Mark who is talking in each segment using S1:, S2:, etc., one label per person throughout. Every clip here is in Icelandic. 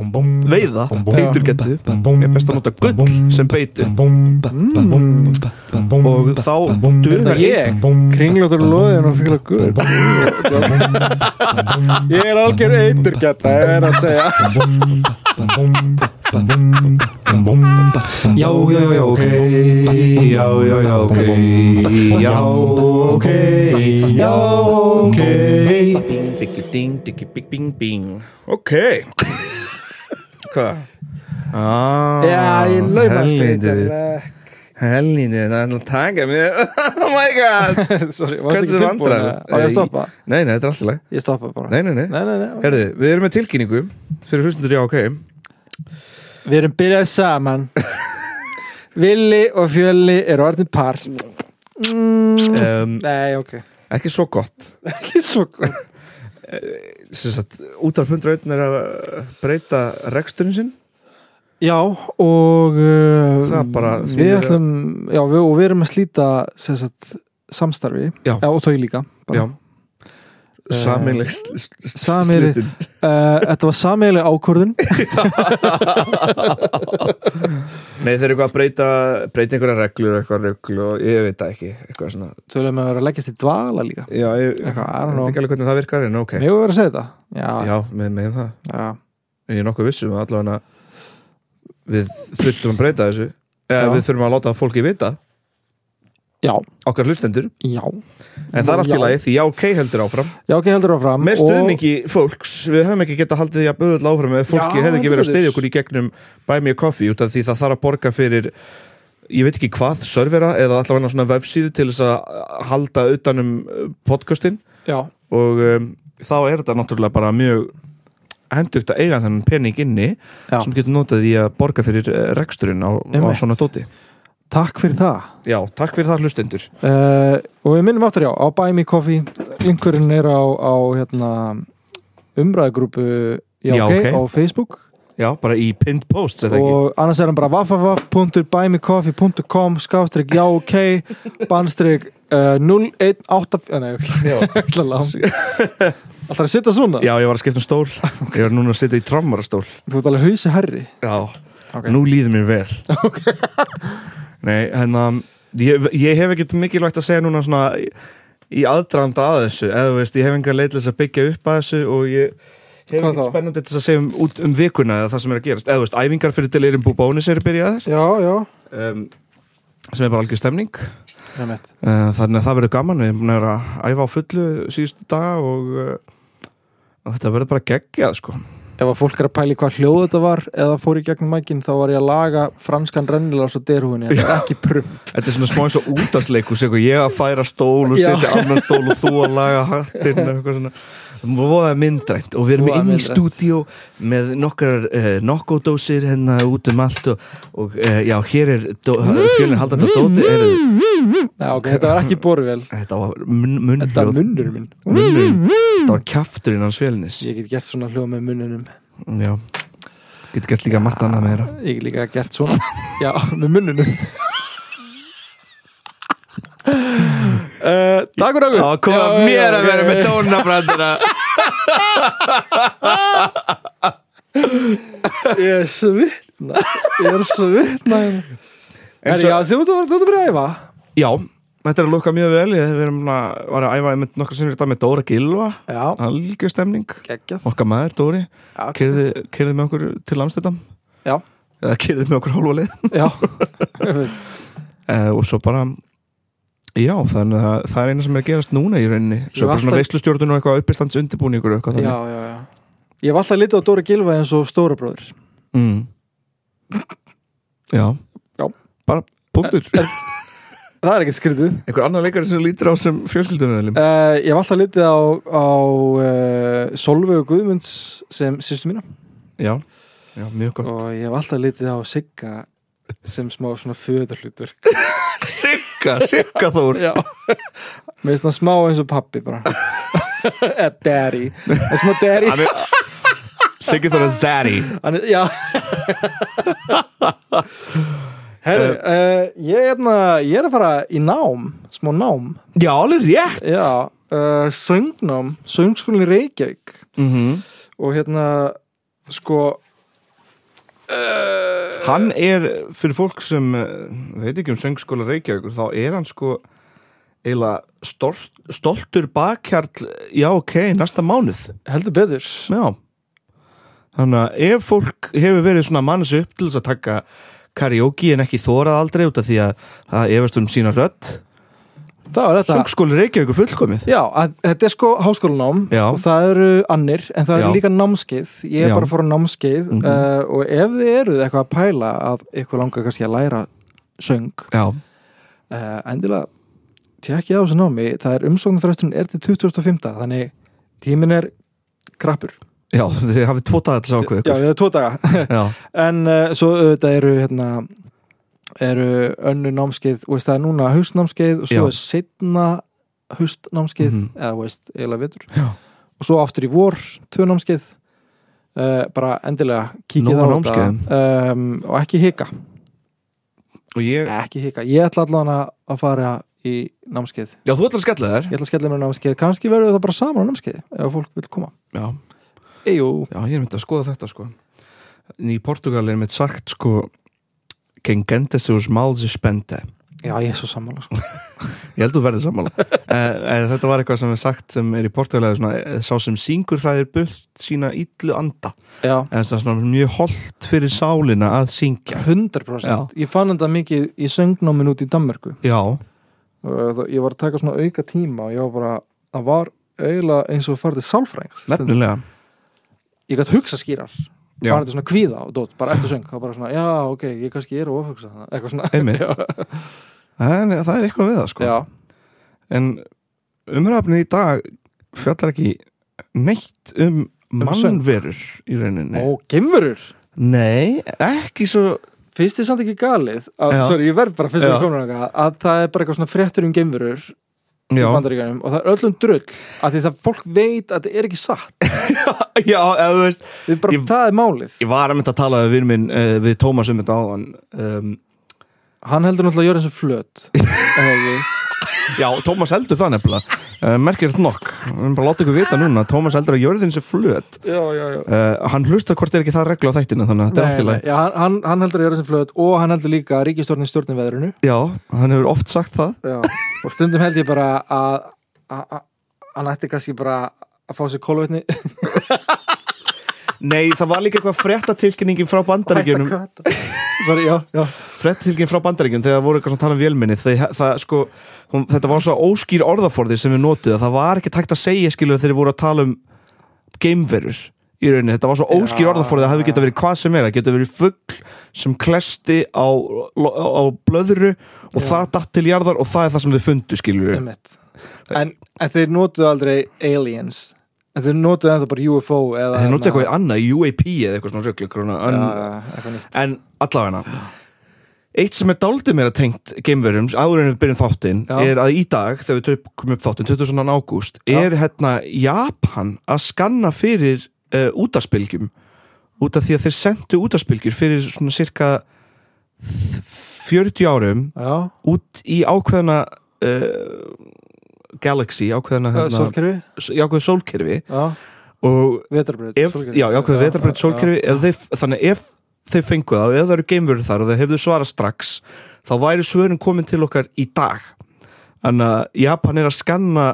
S1: Veiða, heitur getið er best að nota gull sem beitu
S2: Mm.
S1: og þá dugar ég
S2: Kringljóttur loðin og fíla guður Ég er algjör eitur geta Ég er að segja
S1: Já, já, já, ok Já, já, já, ok Já, ok Já, ok
S3: Diggi ding, diggi bing bing bing Ok Hvað? Ah,
S2: Já, ég laumast
S3: helvítið Helvítið, það er nú að taka mér Oh my god
S2: Sorry,
S3: Hversu
S2: varst ekki tilbúin
S3: vandrar?
S2: að- Á ég að stoppa?
S3: Nei, nei, þetta er alltaf lag
S2: Ég stoppa bara
S3: Nei, nei, nei,
S2: nei, nei, nei.
S3: Herðu, við erum með tilkynningu Fyrir hlustundur, já, ok
S2: Við erum byrjað saman Villi og Fjölli eru orðin par Mm.
S3: um,
S2: Nei, ok
S3: Ekki svo gott Eh,
S2: Ekki svo gott
S3: Sem sagt, útarf 101 er að breyta reksturinn sinn
S2: Já, og uh,
S3: Það bara
S2: Við
S3: þýðir að-
S2: ætlum, já, við, og við erum að slíta sem sagt, samstarfi
S3: Já.
S2: og þau líka bara.
S3: Já Eh, Sameileg
S2: sameiginleg-
S3: slitun
S2: Uh, Þetta var sameigileg ákvörðun
S3: Nei, þeir eru eitthvað að breyta, breyta einhverja reglur eitthvað regl og ég veit það ekki eitthvað svona,
S2: Tölum við að vera að leggjast í dvala líka
S3: já, ég ég
S2: Eitthvað, I don't
S3: veit
S2: know
S3: ekki alveg hvernig það virkar en ok,
S2: Mér voru að vera að segja þetta Já,
S3: já, með, með það
S2: já.
S3: en ég er nokkuð vissum að allavega við þurftum að breyta þessu eða
S2: Já.
S3: við þurfum að láta fólki vita
S2: já,
S3: okkar hlustendur,
S2: já
S3: en það er allt
S2: Já.
S3: í lagi því já, ok heldur áfram,
S2: Já, ok, heldur áfram
S3: með
S2: og-
S3: stuðningi fólks við höfum ekki getað haldið því að böðull áfram eða fólki
S2: Já,
S3: hefði ekki verið að
S2: heldur
S3: stiðja okkur í gegnum Buy Me a Coffee út af því það þarf að borga fyrir ég veit ekki hvað, servera eða allavega svona vefsíðu til þess að halda utanum podcastin
S2: Já,
S3: og um, þá er þetta náttúrulega bara mjög hendugt að eiga þennan pening inni
S2: Já.
S3: sem getur notað í að borga fyrir eh, reksturinn á, á
S2: Einmitt.
S3: svona dóti
S2: takk fyrir það
S3: Já, takk fyrir það hlustendur
S2: uh, Og við minnum aftur já, á Buy Me Coffee Linkurinn er á, á hérna, umræðgrúpu já,
S3: Já,
S2: ok,
S3: ok.
S2: á Facebook
S3: Já, bara í pinned posts eða ekki
S2: og annars er hann bara www.buymecoffee.com skástrík já ok bannstrík uh, 018 eh, nei,
S3: Já.
S2: ég ætla að alltaf að sitta svona
S3: Já, ég var að skipta um stól Ég var núna að sitja í trommarastól
S2: þú ert alveg hausi herri
S3: Já,
S2: Ok.
S3: nú líður mér vel Nei, en um, ég, ég hef ekkert mikilvægt að segja núna svona í, í aðdraganda að þessu eða þú veist, ég hef engar leitlis að byggja upp að þessu og ég hef
S2: Hvað
S3: ekkert
S2: þá?
S3: spennandi til þess að segja um, út, um vikuna eða það sem er að gerast, eða þú veist, æfingar fyrir til erum bú bónus eru byrjaðar
S2: já, já
S3: um, sem er bara algjör stemning
S2: Einmitt.
S3: Eh, Þannig að það verður gaman, við erum búin að vera að æfa á fullu síðustu dag og, uh, og þetta verður bara geggjað sko.
S2: ef að fólk er að pæli hvað hljóð þetta var eða fór í gegnum mækin þá var ég að laga franskan rennilás og derhúinni þetta er ekki prum
S3: Þetta er svona smá eins og útasleikus eitthvað, ég að færa stól og
S2: Já.
S3: setja annan stól og þú að laga hattinn eitthvað svona, voða myndrænt og við erum
S2: Voða
S3: inn í
S2: myndrænt.
S3: stúdíó með nokkrar uh, nokkodósir hérna út um allt og, og uh, já, hér er dó, fjölinn haldandi á dóti er,
S2: já, ok, þetta var ekki borvel
S3: þetta var mun, munnhljóð
S2: þetta er munnur minn
S3: munnurinn, þetta var kjafturinn hans fjölinnis
S2: ég get gert svona hljóð með munnunum
S3: já, getur gert líka margt annað meira
S2: Ég hef líka gert svona Já, með munnunum uh, Takk fyrir okkur
S3: Já, koma
S2: Já, já,
S3: mér að
S2: ok.
S3: vera með tónabrandina
S2: Ég er svo vitna Ég er svo vitna Er já, þú ert að byrja að æfa
S3: Já, þetta er að lukka mjög vel Ég erum að, var að æfa einmitt nokkra sinnir í dag með Dóra Gilva
S2: Já,
S3: Algjör stemning
S2: geggjað
S3: Okkar maður, Dóri
S2: Já.
S3: Kerði, kerði með okkur til Amstedam
S2: Já,
S3: Eða kerði með okkur hálfa leið
S2: já
S3: e, Og svo bara Já, þannig að það er eina sem er að gerast núna í rauninni
S2: Ég
S3: Svo
S2: var
S3: bara svona
S2: alltaf-
S3: veislustjórnun og eitthvað uppistands undirbúningur og eitthvað
S2: Já,
S3: þannig.
S2: já, já Ég hef alltaf litið á Dóri Gilva eins og stóra bróður
S3: mm. Já.
S2: Já.
S3: Bara punktur
S2: Það er ekkert skrítið
S3: Einhver annar leikari sem þú lítur á sem fjölskyldumöðlum
S2: uh, Ég hef alltaf litið á, á uh, Solveig Guðmunds sem sýstu mína
S3: Já, já, mjög gott
S2: og ég hef alltaf litið á Sigga sem smá svona föðurhlutur
S3: Sigga, Sigga Þór
S2: Já Mér finnst það smá eins og pappi bara Eða daddy Það er smá daddy
S3: Hann er- Siggi Þór er Zari
S2: Hann er, Já Herri, uh, ég, er na, ég er að fara í nám Smá nám
S3: Já, alveg rétt
S2: Já, uh, söngnám Söngskólinn í Reykjavík
S3: mm -hmm.
S2: Og hérna sko uh,
S3: Hann er, fyrir fólk sem eh, veit ekki um söngskóla Reykjavíkur þá er hann sko eiginlega stolt, stoltur bakkjarl já ok, næsta mánuð
S2: heldur beður
S3: Já Þannig að ef fólk hefur verið svona manns upp til þess að taka karaoke en ekki þórað aldrei út af því að það efast um sína rödd
S2: það var þetta
S3: Söngskóli Reykjavíkur fullkomið
S2: Já, að, þetta er sko háskólanám
S3: Já.
S2: og það eru annir, en það
S3: Já.
S2: eru líka námskeið ég er
S3: Já.
S2: bara að fara á námskeið
S3: Mhm.
S2: uh, og ef þið eruð eitthvað að pæla að eitthvað langar kannski að læra söng
S3: Já,
S2: uh, endilega tjekkið á þessu námi, það er umsóknarfrestun er til 2005, þannig tíminn er krappur
S3: já þið hafið tvo dagar til þess að ákveða
S2: Já,
S3: ykkur
S2: það er tvo daga
S3: Já,
S2: En uh, svo auðvitað eru hérna, eru önnu námskeið og veist, það er núna haustnámskeið og svo
S3: Já.
S2: er setna haustnámskeið
S3: Mhm.
S2: eða þú veist, eiginlega vetur
S3: já.
S2: og svo aftur í vor, tvö námskeið uh, bara endilega kíkið
S3: Nóg
S2: á
S3: af
S2: þetta um, og ekki hika
S3: Og ég,
S2: ekki hika, ég ætla allan að- að fara í námskeið,
S3: já þú ætlar að skella þér
S2: ég ætla að skella mér á námskeið kannski verður það bara saman á námskeið ef fólk vil koma
S3: Já,
S2: Eyjú,
S3: já ég er myndið að skoða þetta sko En Í Portugal er mitt sagt sko Gengendes úr smálsi spende
S2: já ég er svo sammála sko.
S3: Ég held að þú verðið sammála uh, Þetta var eitthvað sem er sagt sem er í Portugal eða svona, eh, Sá sem syngur hræðir burt sína illu anda
S2: já,
S3: eða það er svona mjög holdt fyrir sálina að syngja
S2: 100% ég fann þetta mikið í söngnámin út í Danmörku
S3: Já,
S2: Og það- ég var að taka svona auka tíma og ég var bara, það var eiginlega eins og farið til sálfræðings Stundum.
S3: nefnilega
S2: ég gætt hugsa skýrar,
S3: Já.
S2: var þetta svona kvíða og dót, bara eftir söng, það var bara svona, já ok ég kannski er of ofhugsa það, eitthvað svona
S3: Einmitt.
S2: já,
S3: en, Það er eitthvað við það sko
S2: já,
S3: En umræfni í dag fjallar ekki neitt um,
S2: söng.
S3: mannverur í rauninni
S2: og gemurur
S3: Nei, ekki svo
S2: finnst þið samt ekki galið að,
S3: Já.
S2: sorry, ég verð bara fyrst
S3: Já.
S2: að koma að, að það er bara eitthvað svona fréttur um gemurur í
S3: Já,
S2: bandaríkanum og það er öllum drull að því það fólk veit að þetta er ekki satt
S3: já eða þú veist
S2: Við bara,
S3: Ég-
S2: það er málið,
S3: Ég var að mynda að tala við vinn minn uh, við Tómas um þetta áðan um,
S2: hann heldur náttúrulega að gjöra þessu flöt eða ekki
S3: Já, Tómas heldur það nefnilega uh, Merkir þetta nokk, við erum bara að láta ykkur vita núna Tómas heldur að jörðin sé flöt
S2: já, já, já
S3: uh, Hann hlustar hvort er ekki það regla á þættina Þannig að þetta er
S2: Nei,
S3: allt í lagi
S2: nei, já, hann- hann, hann heldur að gera sem flöðut og hann heldur líka að ríkistjórnin stjórnin veðrinu
S3: Já, hann hefur oft sagt það
S2: já. og stundum held ég bara að að- að- hann ætti kannski bara að fá sér kólvetni
S3: Nei, það var líka eitthvað frettatilkynningin frá bandaríkjunum
S2: Sorry, já, já.
S3: Frettatilkynningin frá bandaríkjunum þegar það voru eitthvað svona að tala um vélminni þegar, það, sko, hún, Þetta var svo óskýr orðaforði sem við notuð Það var ekki tækt að segja skilur þegar voru að tala um geimverur í rauninni Þetta var svo óskýr
S2: Já.
S3: orðaforði það hefði getað verið hvað sem er Það getað verið fugg sem klesti á, á, á blöðru og
S2: Já.
S3: það datt til jarðar og það er það sem þau fundu skilur
S2: einmitt. en, en þeir notuðu aldrei aliens en þeir notuðu ennþá bara UFO eða hérna,
S3: Þeir notuð eitthvað annað, UAP eða eitthvað svona rögl
S2: já,
S3: eitthvað,
S2: já, eitthvað nýtt
S3: En allavegna Eitt sem er dáldið meira tengt geimverum áður en við byrjum þáttinn
S2: Já.
S3: er að í dag, þegar við tökum- komum upp þáttinn 22. ágúst, er hérna Japan að skanna fyrir uh, útarspilgjum út af því að þeir sendu útarspilgjur fyrir svona cirka þ- 40 árum
S2: já,
S3: út í ákveðna uh, galaxy, ákveðna
S2: hérna,
S3: hérna,
S2: sólkerfi
S3: s- í ákveðu sólkerfi
S2: já,
S3: og
S2: vetarbröð
S3: ef, já, já, hvað vetarbreyt sólkerfi ef þeir, þannig ef þeir fengu það og ef það eru geimverur þar og þeir hefðu svarað strax þá væri svörin komin til okkar í dag en að Japan er að skanna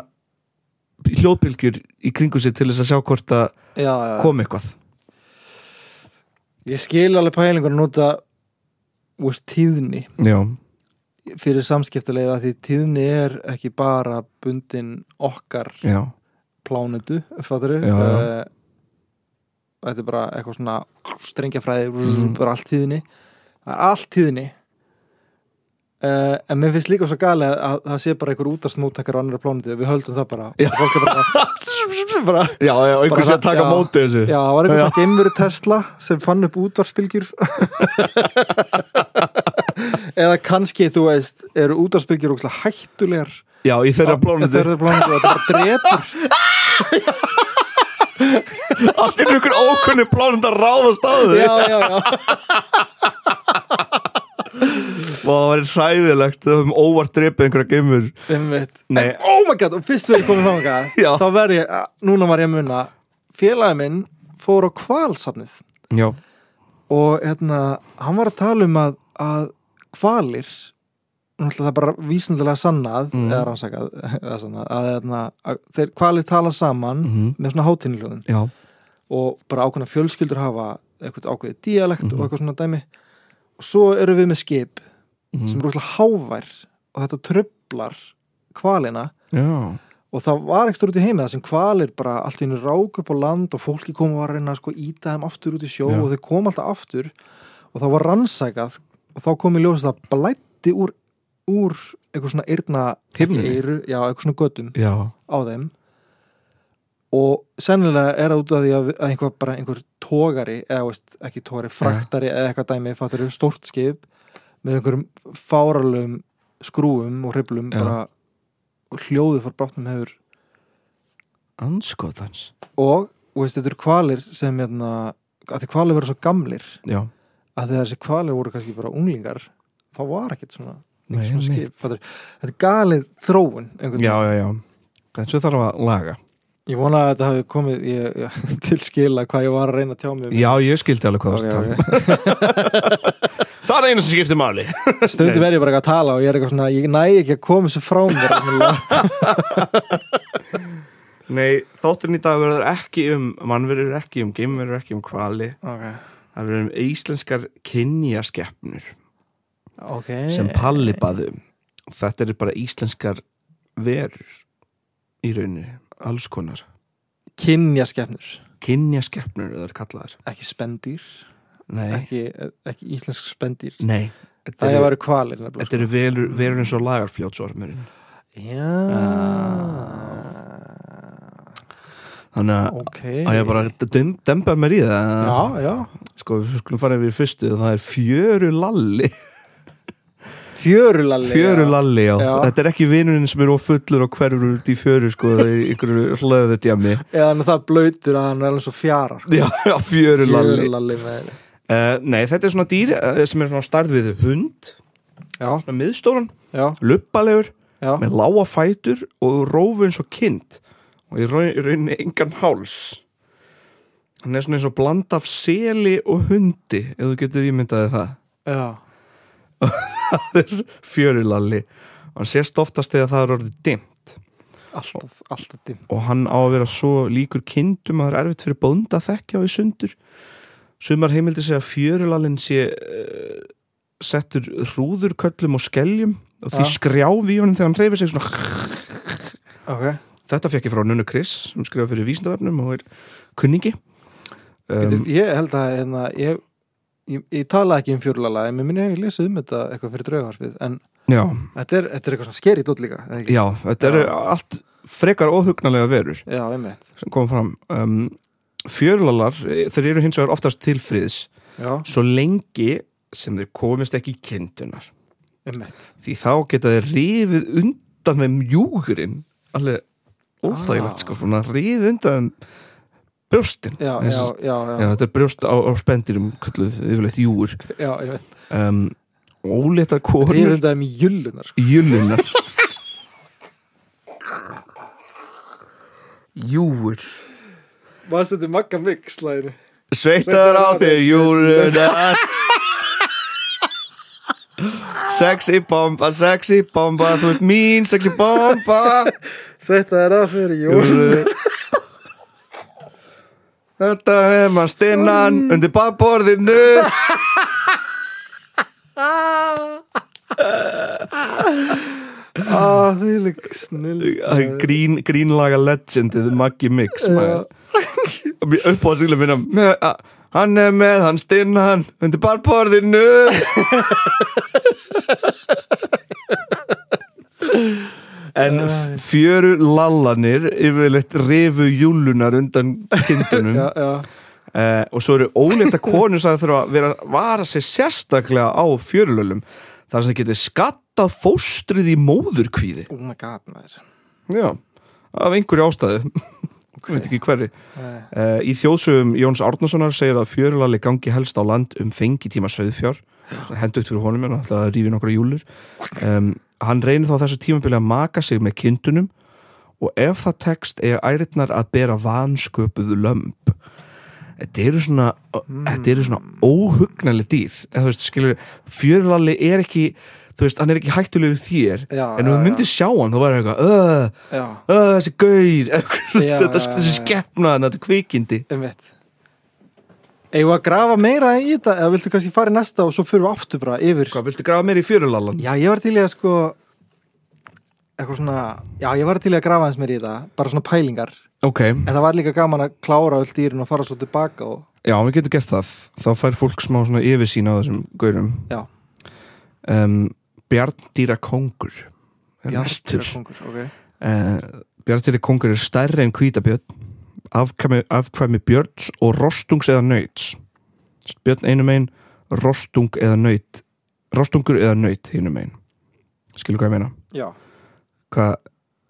S3: hljóðbylgjur í kringu sig til þess að sjá hvort það
S2: já, já.
S3: kom eitthvað
S2: ég skil alveg pælingur að nota þú veist, tíðni
S3: já,
S2: fyrir samskiptalegið að því tíðni er ekki bara bundin okkar
S3: já,
S2: plánetu, fatturu
S3: Já, já.
S2: þetta er bara eitthvað svona strengjafræði,
S3: Mhm.
S2: bara allt tíðni það er allt tíðni Uh, en mér finnst líka svo gali að, að það sé bara einhver útastmóttakar á annara plánetu við höldum það bara,
S3: Já.
S2: Og fólk er bara, bara
S3: já, já
S2: einhver sé að taka á móti
S3: þessu
S2: já, það var eitthvað sem geimveru Tesla sem fann upp útvarspilgjur eða kannski, þú veist, eru útvarspilgjur ógeðslega hættulegar
S3: já, í þeirra blónandi
S2: þeirra blónandi og þetta bara drepur
S3: allt er einhver ókunni blónandi að ráðast á þau
S2: já, já, já
S3: og það væri hræðilegt þau höfum óvart drepið einhverja geimur
S2: Einmitt.
S3: Nei.
S2: En, oh my god, og fyrst við erum komin þangað
S3: Já.
S2: þá verð ég, að- núna var ég að munna félagi minn fór á kvalsafnið
S3: já,
S2: og hérna, hann var að tala um að, að kvalir náttúrulega það er bara vísindilega sannað
S3: Mm.
S2: eða rannsakað eða sannað, að, hérna, að þeir kvalir tala saman
S3: Mhm.
S2: með svona hátinniljóðin
S3: já,
S2: og bara ákveðna fjölskyldur hafa eitthvað ákveðið dialekt og eitthvað svona dæmi og svo eru við með skip sem
S3: mhm,
S2: er rosalega hávær og þetta tröflar kvalina
S3: já,
S2: og það var ekstra út í heimi það sem kvalir bara allt í hennu rák upp á land og fólki kom og var að reyna að sko íta þeim aftur út í sjó
S3: Já.
S2: og þau kom alltaf aftur og það var rannsakað og þá kom í ljós að það blætti úr, úr eitthvað svona eyrna
S3: Himnunni?
S2: eyru, já, eitthvað svona göttum
S3: já,
S2: á þeim og sennilega er það út af því að, að einhver bara einhver tógari eða veist, ekki tógari, fraktari eða eitthvað dæmi fattur eru stórt skip með einhverjum fáralum skrúum og hriflum
S3: Já.
S2: bara og hljóðið fór bráttum hefur
S3: anskotans,
S2: og þú veist, þetta eru kvalir sem hérna, að því kvalir verður svo gamlir
S3: já,
S2: að þegar þessi kvalir voru kannski bara unglingar þá var ekkert svona,
S3: Nei,
S2: ekkert svona
S3: einmitt.
S2: skip, fattur, þetta er galið þróun einhvern
S3: já, já, já, þessu þarf að laga.
S2: Ég vona að þetta hafi komið ég, ég, til skila hvað ég var að reyna að tjá mig um.
S3: Já, ég skildi alveg hvað það var að tala. um.
S2: okay,
S3: Það er einu sem skiptir máli.
S2: okay. Stundum er ég bara eitthvað að tala og ég er eitthvað svona, ég næ ekki að koma þessu frá mér alveg.
S3: Nei, þátturinn í dag verður ekki um mannverður, ekki um geimverður, ekki um kvali.
S2: okay.
S3: Það verður um íslenskar kynjaskeppnur
S2: Okay.
S3: sem Palli baðu. Þetta eru bara íslenskar verur í rauninu, alls konar.
S2: Kynjaskeppnur,
S3: Kynjaskeppnur, það er kallaðar.
S2: ekki spendýr
S3: Nei,
S2: ekki, ekki íslensk spendýr
S3: nei.
S2: Það
S3: Þetta
S2: er að
S3: eru,
S2: vera hérna, kvalir nefnilega,
S3: þetta eru verur, verur eins og lagarfljótsormurinn.
S2: Ah. Já
S3: Þannig að...
S2: Ok
S3: Að hérna- ég bara dem, demba mér í það
S2: Já, já
S3: Sko, við skulum fara yfir í fyrstu Það er fjöru lalli
S2: Fjörulalli
S3: Fjöru lalli, já.
S2: Já.
S3: Þetta er ekki vinurinn sem er ofullur og hverfur út í fjöru sko, það er ykkur hlöðu djami
S2: Eða hann er það blöytur að hann er alveg svo fjara sko.
S3: Já, já, fjöru lalli
S2: Fjörulalli með
S3: uh, Nei, þetta er svona dýr uh, sem er svona starð við hund
S2: Já,
S3: svona miðstóran,
S2: já,
S3: luppalegur
S2: já
S3: með lága fætur og rófu eins og kind og í raun- í rauninni engan háls Hann er svona eins og bland af seli og hundi ef þú getur ímyndaði það
S2: Já,
S3: fjörulalli og hann sést oftast þegar það er orðið dimmt
S2: alltaf, alltaf dim
S3: og hann á að vera svo líkur kindum að það er erfitt fyrir bónda að þekkja og í sundur sumar heimildir segja að fjörulallin sé uh, settur hrúðurköllum og skeljum og því
S2: Ja.
S3: skrjáf í honum þegar hann reyfir sig svona
S2: Ok
S3: þetta fekk ég frá Nunu Chris sem skrifa fyrir vísindavefnum og er kunningi
S2: Veitum,
S3: um,
S2: ég held að hérna, ég, ég, ég tala ekki um fjörulala en mér minni að ég lesið um þetta eitthvað fyrir draugavarpið en
S3: já,
S2: þetta er, þetta er eitthvað svona skeri dótt líka eða ekki?
S3: já, þetta eru
S2: Já.
S3: allt frekar óhugnalega verur
S2: já, einmitt
S3: sem kom fram um, fjörulalar, eh, þeir eru hins vegar oftast til friðs
S2: Já,
S3: svo lengi sem þeir komist ekki í kindunar
S2: einmitt
S3: því þá geta þeir rifið undan þeim júgurinn alveg óþægilegt
S2: Ah.
S3: sko svona rifið undan þeim brjóstin
S2: Já, já,
S3: Þessi-
S2: já,
S3: já,
S2: já,
S3: þetta er brjóst á, á spendirum kalluð yfirleitt júgur
S2: já einmitt
S3: um, óléttar konur
S2: Rífum það um jöllunar sko.
S3: júlunar júgur
S2: Varst þetta Magga Mix slæðinu?
S3: Sveitar á þér júlunar Sexy bomba, sexy bomba Þú ert mín sexy bomba
S2: Sveita er að fyrir jól
S3: Þetta er maður stinnan Undir babborðinu
S2: ah, Því lík snill
S3: Grín, Grínlaga legendið Maggi Mix maður. Upp á siglum minna með- a- Hann er með, hann stinnan Undir babborðinu En fjöru lallanir yfirleitt rifu júlunar undan kindunum
S2: Já, já,
S3: Eh, og svo eru óleita konur sem þurfa að vera að vara sig sérstaklega á fjörulölum þar sem það getur skattað fóstrið í móðurkvíði
S2: oh my god maður
S3: Já, af einhverju ástæðu okay. veit ekki hverri
S2: Nei.
S3: eh, Í þjóðsögum Jóns Árnasonar segir að fjörulali gangi helst á land um fengitíma söðfjár hendugt fyrir honum en ætlar að rífi nokkra júlur um, Hann reynir þá á þessu tímabili að maka sig með kindunum og ef það tekst eiga æritnar að bera vansköpuðu lömb þetta eru svona,
S2: Hmm.
S3: þetta eru svona óhugnanlega dýr eða þú veist, skilur, fjörlalli er ekki þú veist, hann er ekki hættulegur þér
S2: Já,
S3: en ef þú
S2: já,
S3: myndir sjá hann, þá væri eitthvað öh,
S2: já,
S3: öh, þessi gaur
S2: Já,
S3: þetta,
S2: já,
S3: þessi
S2: já.
S3: skeppna, þetta kvikindi
S2: einmitt eigum við að grafa meira í þetta eða viltu kannski fara í næsta og svo fyrir við aftur bara yfir
S3: hvað, viltu grafa mér í fjörulallan?
S2: já, ég var til í að sko eitthvað svona, já, ég var til í að grafa eins meira í þetta bara svona pælingar,
S3: ok,
S2: en það var líka gaman að klára öll dýrin og fara svo tilbaka og
S3: já, við getum gert það þá fær fólk smá svona yfirsýn á þessum gaurum
S2: já,
S3: um, Bjarndýra kongur
S2: bjartýra kongur ok,
S3: uh, Bjartýri kongur er stærri en kvítabjörn afkvæmi, afkvæmi björns og rostungs eða nöyts björn einu megin, rostung eða nöyt rostungur eða nöyt einu megin skilur hvað ég meina
S2: já
S3: Hva,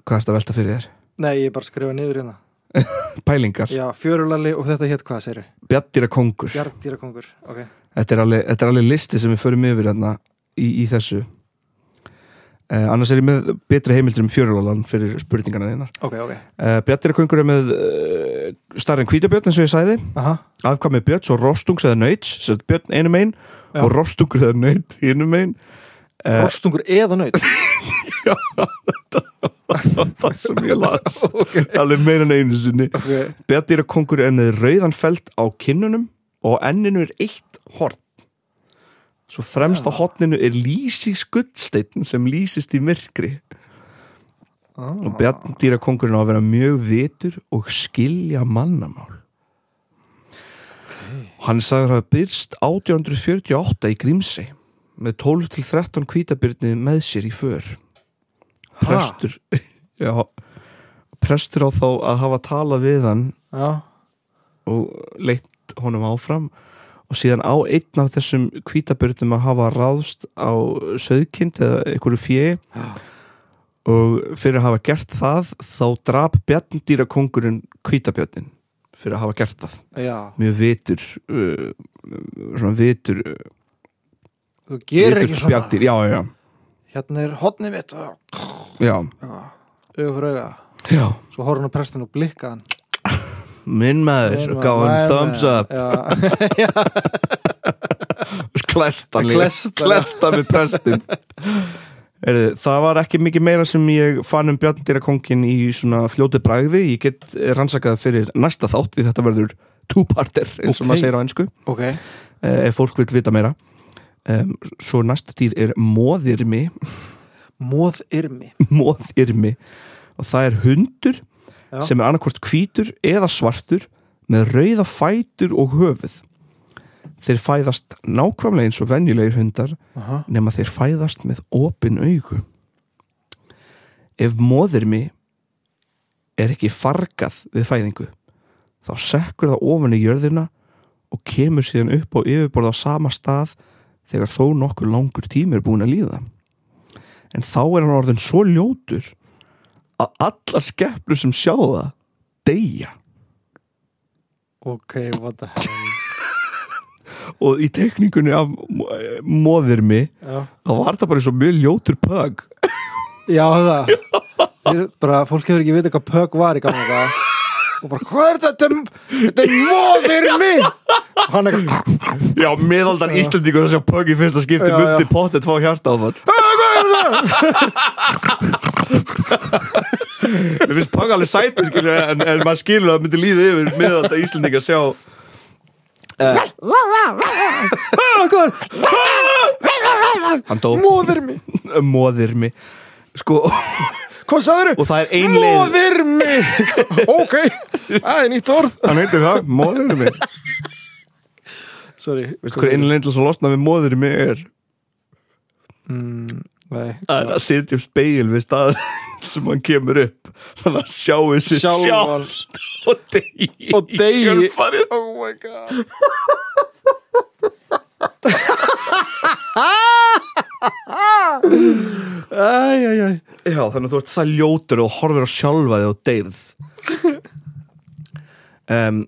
S3: hvað er þetta velta fyrir þér?
S2: nei, ég er bara að skrifa niður hérna
S3: Pælingar,
S2: já, fjörulali og þetta hétt hvað segir
S3: bjartýra kongur
S2: bjartýra kongur, ok
S3: þetta er, alveg, þetta er alveg listi sem við förum yfir hérna í, í þessu uh, annars er ég með betri heimildir um fjörulalan fyrir spurningarna þínar
S2: ok, ok,
S3: uh, Bjartýra kongur er með uh, starri en kvítabjörn eins og ég sagði
S2: aha,
S3: afkvæmi björns og rostungs eða nöyts sem sagt björn einu megin
S2: Já.
S3: og rostungur eða nöyt einu megin uh,
S2: rostungur eða nöyt
S3: það sem ég las alveg meira en einu sinni
S2: ok,
S3: björn er kongur er með rauðan felt á kinnunum og á enninu er eitt horn svo fremst á horninu er lýsig skuddsteinn sem lýsist í myrkri
S2: ah,
S3: og bjarndýra kongurinn á að vera mjög vitur og skilja mannamál hann sagður að byrst 1848 í Grímsey með 12-13 kvítabyrni með sér í för prestur já, prestur á þá að hafa talað við hann
S2: já,
S3: og leitt honum áfram og síðan á einn af þessum kvítabörnum að hafa ráðst á söðkind eða einhverju fjö og fyrir að hafa gert það þá drap bjarndýra kongurinn kvítabjörnin fyrir að hafa gert það
S2: já
S3: mjög vitur uh, svona vitur, uh,
S2: þú gerir ekki
S3: vitur
S2: svona
S3: bjarndýr já, já,
S2: hérna er hotnið mitt auga
S3: já,
S2: fyrir auga
S3: já.
S2: svo horfði hann á prestin og blikkaði hann
S3: minn maður,
S2: Nei,
S3: gaf
S2: nei,
S3: hann
S2: nei.
S3: thumbs up
S2: já,
S3: klesta
S2: Klesst hann.
S3: klesta með prestin Heyrðu, það var ekki mikið meira sem ég fann um Bjarndýra kongin í svona fljótu bragði ég get rannsakað fyrir næsta þátt því þetta verður two-parter eins og
S2: Ok.
S3: maður segir á ennsku
S2: ok,
S3: ef fólk vil vita meira um, svo næsta dýr er móðirmi
S2: móð yrmi
S3: móðirmi og það er hundur
S2: Já.
S3: sem er annarkvort hvítur eða svartur með rauða fætur og höfuð þeir fæðast nákvæmlega eins og venjulegir hundar
S2: Aha.
S3: nema þeir fæðast með opin augu. Ef móðirmi er ekki fargað við fæðingu, þá sekkur það ofan í jörðina og kemur síðan upp á yfirborð á sama stað þegar þó nokkur langur tími er búin að líða. En þá er hann orðin svo ljótur að allar skeppnur sem sjá það deyja.
S2: ok, what the hell
S3: Og í tekningunni af móðirmi,
S2: já,
S3: þá var það bara eins og mjög ljótur pögg.
S2: já það Þeir, bara, fólk hefur ekki vita hvað pögg var í gamla dag og bara, hvað er þetta þetta er móð yrmi og hann eitthvað,
S3: Já, miðaldan Íslendingur að sjá Pögg í fyrsta skipti
S2: Já,
S3: myndi pottet fá hjarta áfall Hvað er það? Mér finnst Pögg alveg sætur skilur, en, en maður skilur að það myndi líða yfir miðaldan Íslendingur að sjá
S2: "Ah, hvað er
S3: Hann dó
S2: móð yrmi
S3: Móðirmi Sko, og
S2: hvað sagður
S3: það er ein leið
S2: Móðirmi Ok, það er nýtt orð
S3: Hann heitir það, móðirmi Veistu
S2: Sorry,
S3: hver Sko, ein leið til þess að losna við móðirmi er?
S2: Nei,
S3: Það er að setja upp speil við stað sem hann kemur upp Þannig að sjáu sér
S2: Sjálfan.
S3: sjálft Og degi
S2: Og deyi.
S3: Oh my god
S2: Æj, æj, æj
S3: Já, þannig að þú ert það ljótur og horfir á sjálfa þig og deyð um,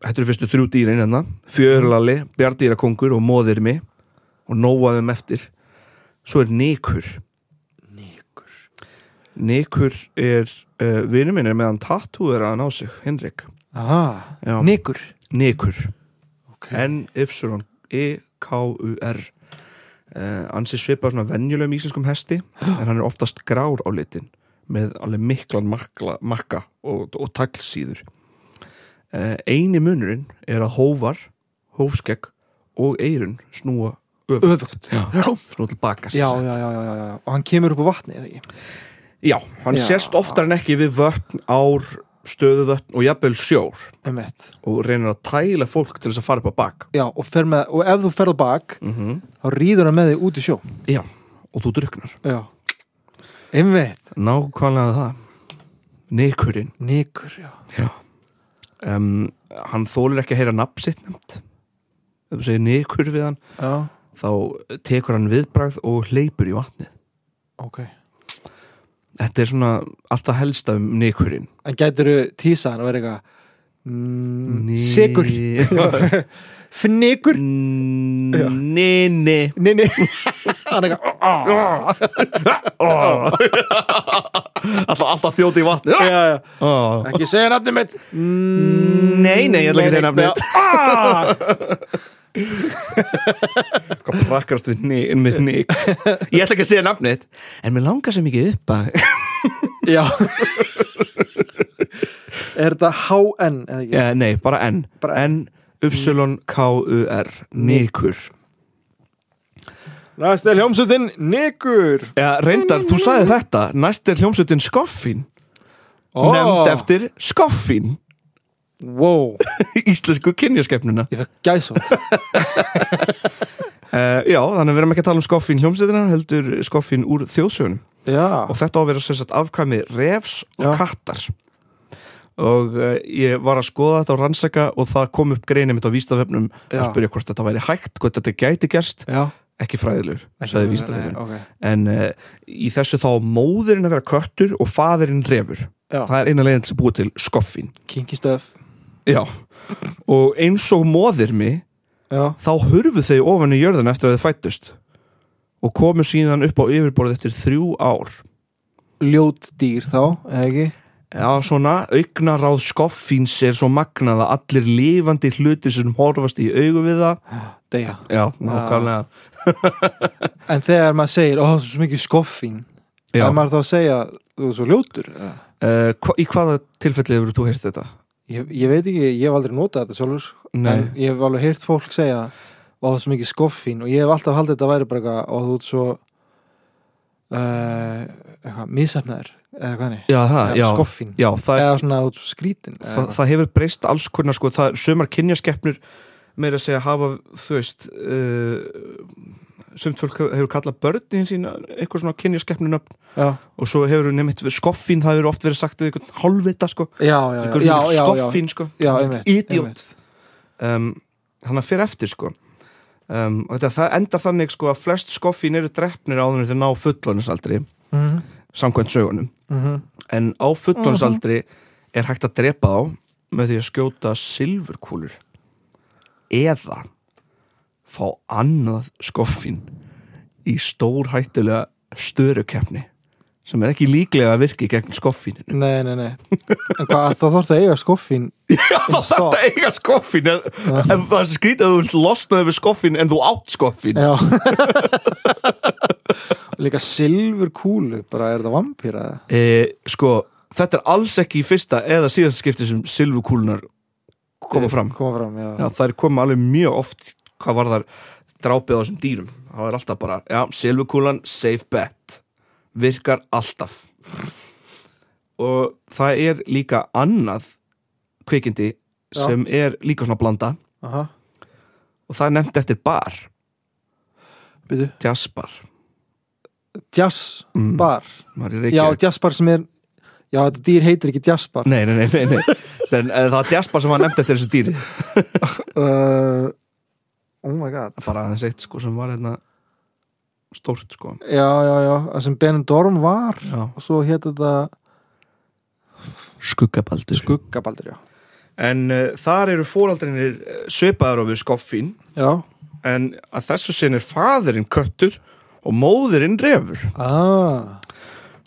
S3: Þetta eru fyrstu þrjú dýrin hérna Fjörlali, bjardýrakongur og móðirmi og nóaðum eftir Svo er Nikur
S2: Nikur
S3: Nikur eh, er, uh, vinur minn er meðan tattúður að ná sig, Henrik
S2: Aha,
S3: Já.
S2: Nikur
S3: Nikur
S2: ok
S3: N-Y-K-U-R uh, Ansi svipað svona venjulegum íslenskum hesti en hann er oftast grár á litin með alveg miklan makla, makka og, og taglsíður uh, Eini munurinn er að hófar, hófskegg og eirun snúa öfugt,
S2: öfugt
S3: Já,
S2: já.
S3: snúa tilbaka sem
S2: Já,
S3: sagt.
S2: já, já, já, já, já, og hann kemur upp á vatni eða ekki
S3: já, hann
S2: Já.
S3: sérst oftar en ekki við vötn, ár, stöðuvötn og jafnvel sjór
S2: um eitt,
S3: og reynir að tæla fólk til þess að fara upp á bak
S2: já, og, fer með, og ef þú ferð á bak
S3: mm
S2: þá rýður hann með þig út í sjó
S3: Já, og þú druknar
S2: já, einmitt
S3: Nákvæmlega það Nikurinn
S2: Nikur, já,
S3: um, Hann þólir ekki að heyra nafn sitt nefnt Ef þú segir Nikur við hann
S2: já,
S3: Þá tekur hann viðbragð og hleypur í vatnið
S2: ok
S3: Þetta er svona alltaf helsta um Nikurinn
S2: en gætur þú tísa hann og verið eitthvað mm, Sigur Fnikur
S3: Nini
S2: Nei, nei, hann er eitthvað
S3: Alltaf alltaf þjóti í vatnið
S2: já, já.
S3: Ó.
S2: Ekki segja nafnið mitt Mm,
S3: Nei, nei, ég ætla ekki að segja nafnið Ah! Hvað prakkast við nik, með nik Ég ætla ekki að segja nafnið En mér langar sem ekki upp að
S2: Já Er þetta HN eða ekki?
S3: Eh, Nei, bara N
S2: Bara
S3: N, Upsilon, K, U, R Nikur
S2: Næst er hljómsuðinn Nikur
S3: ja, Reyndar, þú sagði þetta Næst er hljómsveitin Skoffin
S2: Ó.
S3: Nefnd eftir Skoffin
S2: Wow,
S3: Íslensku kynjaskepnuna
S2: ég fekk gæsóð
S3: uh, Já, þannig við erum ekki að tala um Skoffin hljómsveitina Heldur Skoffin úr þjóðsögunum
S2: Já,
S3: og þetta á að vera sem sagt afkvæmi refs og
S2: Já.
S3: kattar og uh, ég var að skoða þetta og rannsaka og það kom upp greinir mitt á vístafefnum að
S2: Já.
S3: spyrja hvort þetta væri hægt, hvort þetta gæti gerst
S2: já
S3: ekki fræðilegur, sagði vístafefnum
S2: okay.
S3: en uh, í þessu þá á móðurinn að vera köttur og faðurinn refur
S2: Já.
S3: það er eina leiðin til að búa til skoffin
S2: Kinky stuff
S3: Já. og eins og móðir mig
S2: Já,
S3: þá hurfu þau ofan í jörðan eftir að þau fættust og komu síðan upp á yfirborð eftir þrjú ár
S2: ljót dýr þá, eða ekki?
S3: Já, svona, augnaráð skoffins er svo magnað að allir lifandi hluti sem horfast í augu við það Ah.
S2: Deja
S3: Já, nákvæmlega
S2: En þegar maður segir, ó, þú er svo mikið skoffín
S3: Já.
S2: Er maður þá að segja, þú er svo ljótur? eða?
S3: Uh, hva, Í hvaða tilfelli hefur þú heyrst þetta?
S2: Ég, ég veit ekki, ég hef aldrei notað þetta sjálfur
S3: Nei.
S2: En ég hef alveg heyrt fólk segja Ó, það er svo mikið skoffín Og ég hef alltaf haldið þetta væri bara eitthvað Og þú ert svo uh, Eitthvað, misefnaður Eða hvað hann er
S3: Já, það, Ah, já,
S2: Skoffín
S3: já það,
S2: Eða svona, þú ert svo skrítin eða
S3: það, það hefur breyst alls konar sko, það, sumar kynjaskeppnur meira að segja hafa, þú veist uh, sumt fólk hefur kallað börnin sína eitthvað svona kynjaskeppnunöfn
S2: eitthvað. já.
S3: og svo hefur nefnt skoffin, það hefur oft verið sagt við eitthvað hálfvita, sko,
S2: já, já, já, já, já, já,
S3: skoffin, sko
S2: já einmitt,
S3: Idiot.
S2: einmitt.
S3: um, þannig að fyrir eftir sko um, og þetta það endar þannig sko að flest skoffín eru drefnir áður þegar ná fullónusaldri
S2: Mhm,
S3: samkvæmt sögunum
S2: mhm.
S3: en á fullónusaldri er hægt að drepa þá með því að skjóta silfurkúlur eða fá annað skoffín í stór hættulega störukefni sem er ekki líklega að virki gegn skoffíninu
S2: Nei, nei, nei En hvað, þá þarf það að eiga skoffín
S3: Já, þá þarf
S2: Stopp.
S3: þetta að eiga skoffin en, en það er svo skrítið að þú vilt losnaði við skoffin en þú átt skoffin
S2: Já Líka silfur kúlu Bara er það vampíra eða?
S3: e, Sko, þetta er alls ekki í fyrsta eða síðast skipti sem silfukúlunar koma fram
S2: Koma fram, já,
S3: Já, það er koma alveg mjög oft hvað var þar drápið á þessum dýrum það er alltaf bara, já, silfukúlan safe bet, virkar alltaf og það er líka annað kvikindi
S2: Já.
S3: sem er líka svona blanda
S2: Aha.
S3: og það er nefnt eftir bar,
S2: Býtu,
S3: jazzbar
S2: jazz
S3: Mm.
S2: bar
S3: Maður er í
S2: Já,
S3: Reykjavík.
S2: jazz bar sem er Já, þetta dýr heitir ekki jazz bar
S3: Nei, nei, nei, nei, nei. En, eh, það er jaspar sem var nefnd eftir þessu dýri
S2: uh, Oh my god
S3: bara aðeins eitt sko sem var hérna stórt sko
S2: Já, já, já, það sem Benendorm var
S3: Já.
S2: Og svo hétt þetta
S3: skuggabaldur
S2: Skuggabaldur, já
S3: en uh, þar eru fóraldrinir eh, svipaðar á við skoffin
S2: Já
S3: en að þessu sinn er faðurinn köttur og móðurinn refur
S2: ah.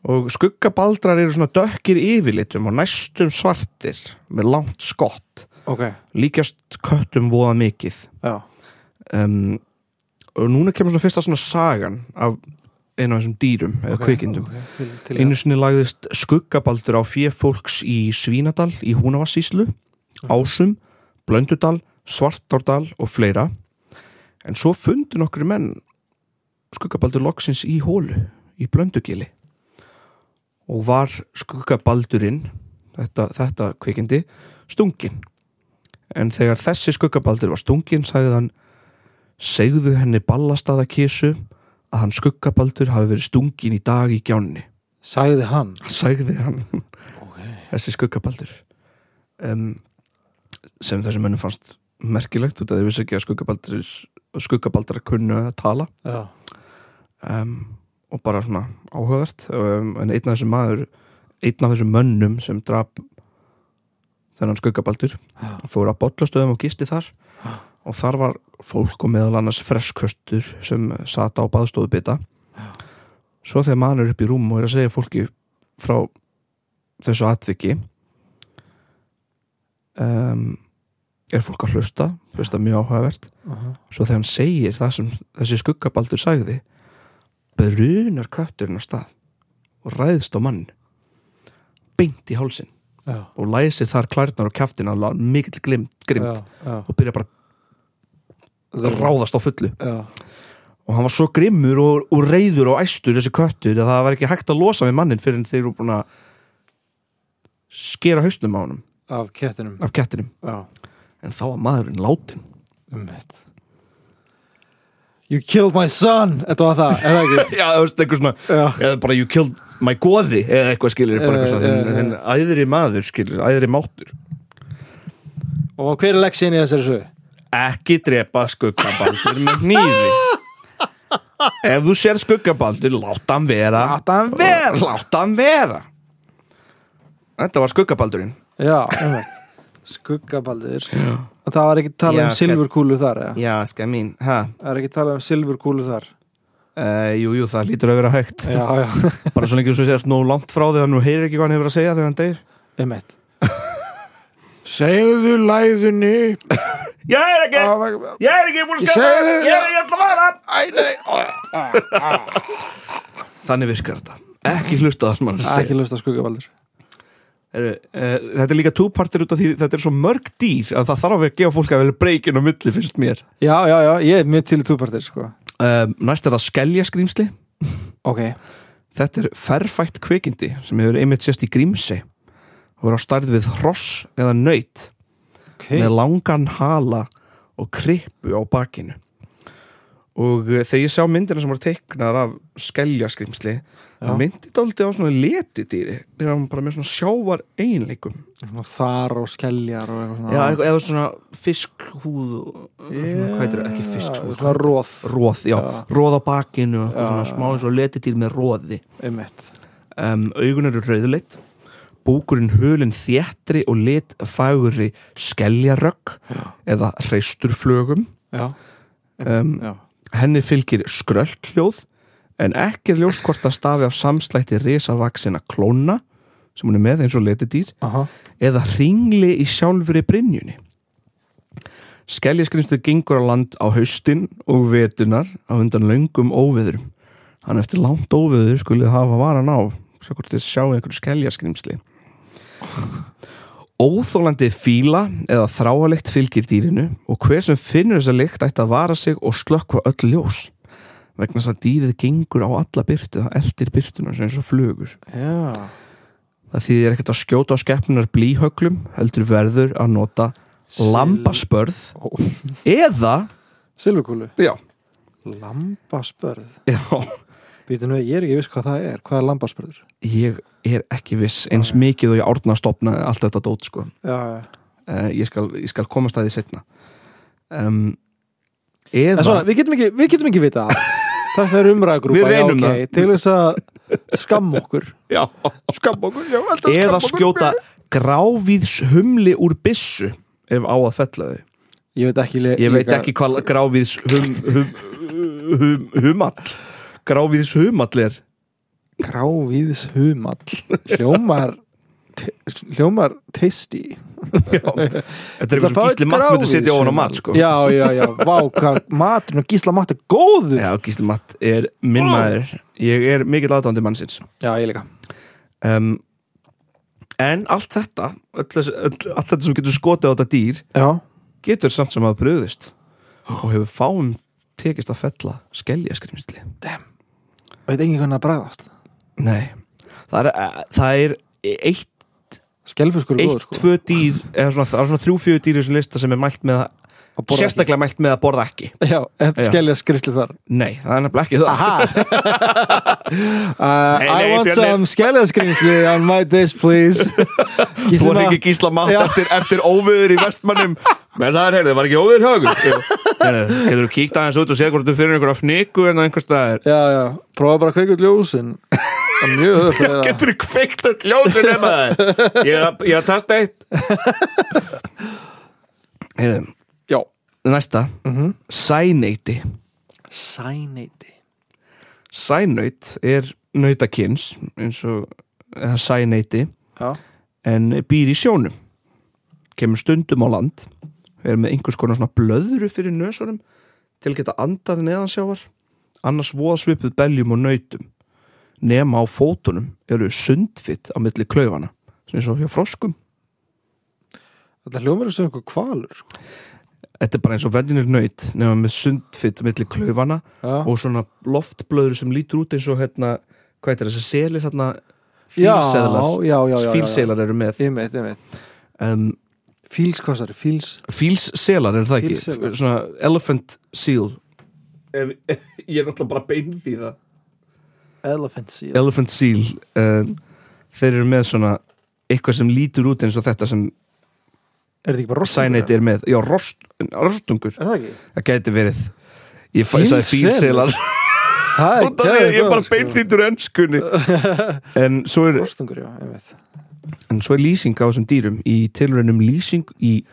S3: og skuggabaldrar eru svona dökkir yfirlitum og næstum svartir með langt skott
S2: ok,
S3: líkjast köttum voða mikið
S2: já,
S3: um, og núna kemur svona fyrsta svona sagan af einu af þessum dýrum eða
S2: ok,
S3: kvikindum
S2: ok, til, til
S3: einu sinni lagðist skuggabaldur á fjöfólks í Svínadal í Húnavassíslu Ásum, Blöndudal Svartárdal og fleira en svo fundu nokkru menn skuggabaldur loksins í hólu í Blöndugili og var skuggabaldurinn þetta, þetta kvikindi stungin en þegar þessi skuggabaldur var stungin sagði hann segðu henni ballastaðakisu að hann skuggabaldur hafi verið stungin í dag í gjánni
S2: sagði hann
S3: sagði hann
S2: ok,
S3: þessi skuggabaldur um, sem þessum mönnum fannst merkilegt út af því vissi ekki að skuggabaldur skuggabaldar kunnu að tala
S2: já,
S3: um, og bara svona áhugavert um, en einn af þessum maður einn af þessum mönnum sem drap þennan skuggabaldur
S2: Já.
S3: fór að bollastöðum og gisti þar og þar var fólk og meðal annars fresköstur sem sat á baðstofubita svo þegar maður er upp í rúm og er að segja fólki frá þessu atviki um, er fólk að hlusta hlusta mjög áhugavert
S2: aha,
S3: svo þegar hann segir það sem þessi skuggabaldur sagði brunar kötturinn á stað og ræðst á mann beint í hálsin
S2: já
S3: og læsir þar klærnar og kjaftin alveg mikill glimt, grimt
S2: já, já,
S3: og byrja bara að ráðast á fullu
S2: já,
S3: og hann var svo grimmur og, og reyður og æstur þessi köttur að það var ekki hægt að losa við mannin fyrir en þeir eru búin að skera hausnum á honum
S2: af kettinum
S3: af kettinum
S2: já,
S3: en þá var maðurinn látin
S2: um mitt you killed my son þetta var það, er það ekki
S3: Já, það veist, eitthvað svona
S2: já,
S3: eða bara you killed my goði eða eitthvað skilur bara eitthvað svona,
S2: Eh, eh,
S3: þinn- þinn æðri maður skilur, æðri máttur
S2: og hver er leksinn í þessari sögu?
S3: ekki drepa skuggabaldur með nýði ef þú sér skuggabaldur láta hann vera láta hann vera, láta hann vera. þetta var skuggabaldurinn
S2: já, um mitt skuggabaldir það var ekki talað
S3: Já,
S2: um silfurkúlu þar eða?
S3: já, skæð mín ha,
S2: það er ekki talað um silfurkúlu þar
S3: uh, jú, jú, það lítur að vera hægt
S2: já, já,
S3: bara svo lengi þú sérst nóg langt frá því að nú heyrir ekki hvað hann hefur að segja þegar hann deyr
S2: um mitt segðu læðunni
S3: ég er ekki,
S2: já,
S3: ég er ekki búin
S2: Ég skella- segi þér- Ég er
S3: ekki alltaf að vera Æ, nei Þannig virkar þetta Ekki hlusta það sem hann segir
S2: ekki löst að skuggabaldur
S3: Heru, uh, Þetta er líka túpartir út af því Þetta er svo mörg dýr að það þarf að gefa fólk að velja breykin á milli finnst mér
S2: já, já, já, ég er mjög til í túpartir sko.
S3: um, Næst er það skelja skrýmsli
S2: ok,
S3: Þetta er ferfætt kvikindi sem hefur einmitt sérst í grímsi og er á stærð við hross eða nöyt
S2: okay.
S3: með langan hala og krippu á bakinu og eh, þegar ég sjá myndina sem voru teiknar af skeljaskrimsli það myndi dálítið á svona letidýri þegar hann bara með svona sjávar einleikum
S2: Svona þar og skeljar og eitthvað svona
S3: Já, eitthvað, eða svona fiskhúð og- svona, hvað heitir það, ekki fiskhúð
S2: svona róð
S3: Róð, já,
S2: Já.
S3: róð á bakinu og svona smá eins og letidýr með róði
S2: einmitt
S3: um, augun eru rauðleitt búkurinn hulinn þéttri og lit fagurri skeljarögg eða hreisturflögum
S2: já,
S3: um,
S2: já,
S3: henni fylgir skröllhljóð en ekki er ljóst hvort það stafi af samslætti risavaksina klóna sem hún er með eins og letidýr
S2: aha,
S3: eða hringli í sjálfri brinjunni Skeljaskrimstur gengur á land á haustin og vetunar á undan löngum óveðurum hann eftir langt óveður skulið hafa varan á svo hvort þið sjá einhverju skeljaskrimsli Óþólandi fíla eða þráalikt fylgir dýrinu og hver sem finnur þessa lykt ætti að vara sig og slökkva öll ljós vegna þess að dýrið gengur á alla byrtu það eldir byrtuna eins og flugur
S2: já
S3: Það þýðir ekkert að skjóta á skeppnunar blíhöglum heldur verður að nota lambaspörð
S2: Ó.
S3: eða
S2: silfurkúlu,
S3: já,
S2: lambaspörð
S3: já,
S2: býtu nú, ég er ekki viss hvað það er hvað er lambaspörður?
S3: ég er ekki viss eins mikið og ég árna að stopna allt þetta dót sko,
S2: já, já,
S3: uh, ég, skal, ég skal komast að því setna um, eða
S2: en svona, við getum ekki við getum ekki vita það það er umræðagrúpa,
S3: Við reynum
S2: já,
S3: það.
S2: til þess að skamma okkur
S3: já,
S1: Skam okkur, já, alltaf
S3: eða skjóta grávíðs humli úr byssu ef á að fella þau
S2: ég veit ekki, le-
S3: ég veit
S2: líka-
S3: ekki hvað grávíðs hum, hum, hum, humall grávíðs humall er
S2: grávíðs humall hljómar te- hljómar tasty
S3: Þetta er eitthvað sem Gísli Matt myndi sitja ofan á mat sko.
S2: já, já, já, vá, hvað maturinn og gísla mat er góður
S3: Já, Gísli Matt er minn maður Ég er mikill aðdándi mannsins
S2: Já, ég líka
S3: um, En allt þetta öll, þessi- öll, Allt þetta sem getur skotið á þetta dýr
S2: já,
S3: Getur samt sem að brugðist Og hefur fáum tekist að fella Skelja skrimsli
S2: veit engin hvernig að bræðast
S3: Nei, það er, eh, það er Eitt,
S2: skelfiskur er
S3: eitt
S2: góður sko
S3: tvö dýr Eða svona, það er svona þrjú fjögur dýr í þessum lista sem er mælt með að
S2: Að borða
S3: Sérstaklega mælt með að borða ekki
S2: ekki. já, en
S3: Já.
S2: skelja skrisli þar
S3: Nei, það er nefnilega ekki það
S2: aha uh,
S3: Nei,
S2: I
S3: nei,
S2: want
S3: fjölnir.
S2: some skelja skrisli on my dish please
S3: Þú
S2: Gísli
S3: var ekki
S2: Matt,
S3: gísla mátt
S2: Já.
S3: eftir, eftir óviður í vestmannum Menn það er heyrðu, það var ekki óviður högur Getur þú kíkt aðeins út og séð hvort þú fyrir einhverja fniku en einhver staðar
S2: já, já, prófa bara að kveika út ljósin það er mjög öðvöld fyrir það
S3: Getur þú kveikt öll ljósin nema það Ég er að, ég er að tasta eitt Heyrðu,
S2: já,
S3: næsta Sæneiti
S2: sæneiti
S3: Sænaut er nautakins eins og eða sæneiti
S2: já,
S3: en býr í sjónum kemur stundum á land er með einhvers konar svona blöðru fyrir nösunum til að geta andað neðansjávar annars voða svipuð beljum og nautum nema á fótunum eru sundfitt á milli klaufana sem er svo hjá froskum
S2: þetta hljómar er sem einhver kvalur sko.
S3: þetta er bara eins og venjinir naut nema með sundfitt á milli klaufana
S2: já,
S3: og svona loftblöðru sem lítur út eins og hérna, hvað er þessi selir hérna,
S2: já,
S3: fílseðlar
S2: já, já, já, já, já.
S3: fílselar eru með
S2: ég meit, ég meit
S3: um,
S2: fíls, hvað sér, fíls
S3: fílselar er það ekki
S2: Fílselar.
S3: svona elephant seal ef, ég er náttúrulega bara bein því það
S2: elephant seal
S3: elephant seal um, þeir eru með svona eitthvað sem lítur út eins og þetta sem
S2: er þetta ekki bara rossi
S3: sænæti er með já, rost, rostungur,
S2: er það ekki?
S3: það gæti verið ég fæ- ég sagði
S2: Fílselar.
S3: fílselar
S2: það er sko.
S3: Út af því að ég er sko. bara bein því úr ennskunni en svo er
S2: rostungur, já, ég veit
S3: En svo er lýsing á þessum dýrum í tilraun um lýsing í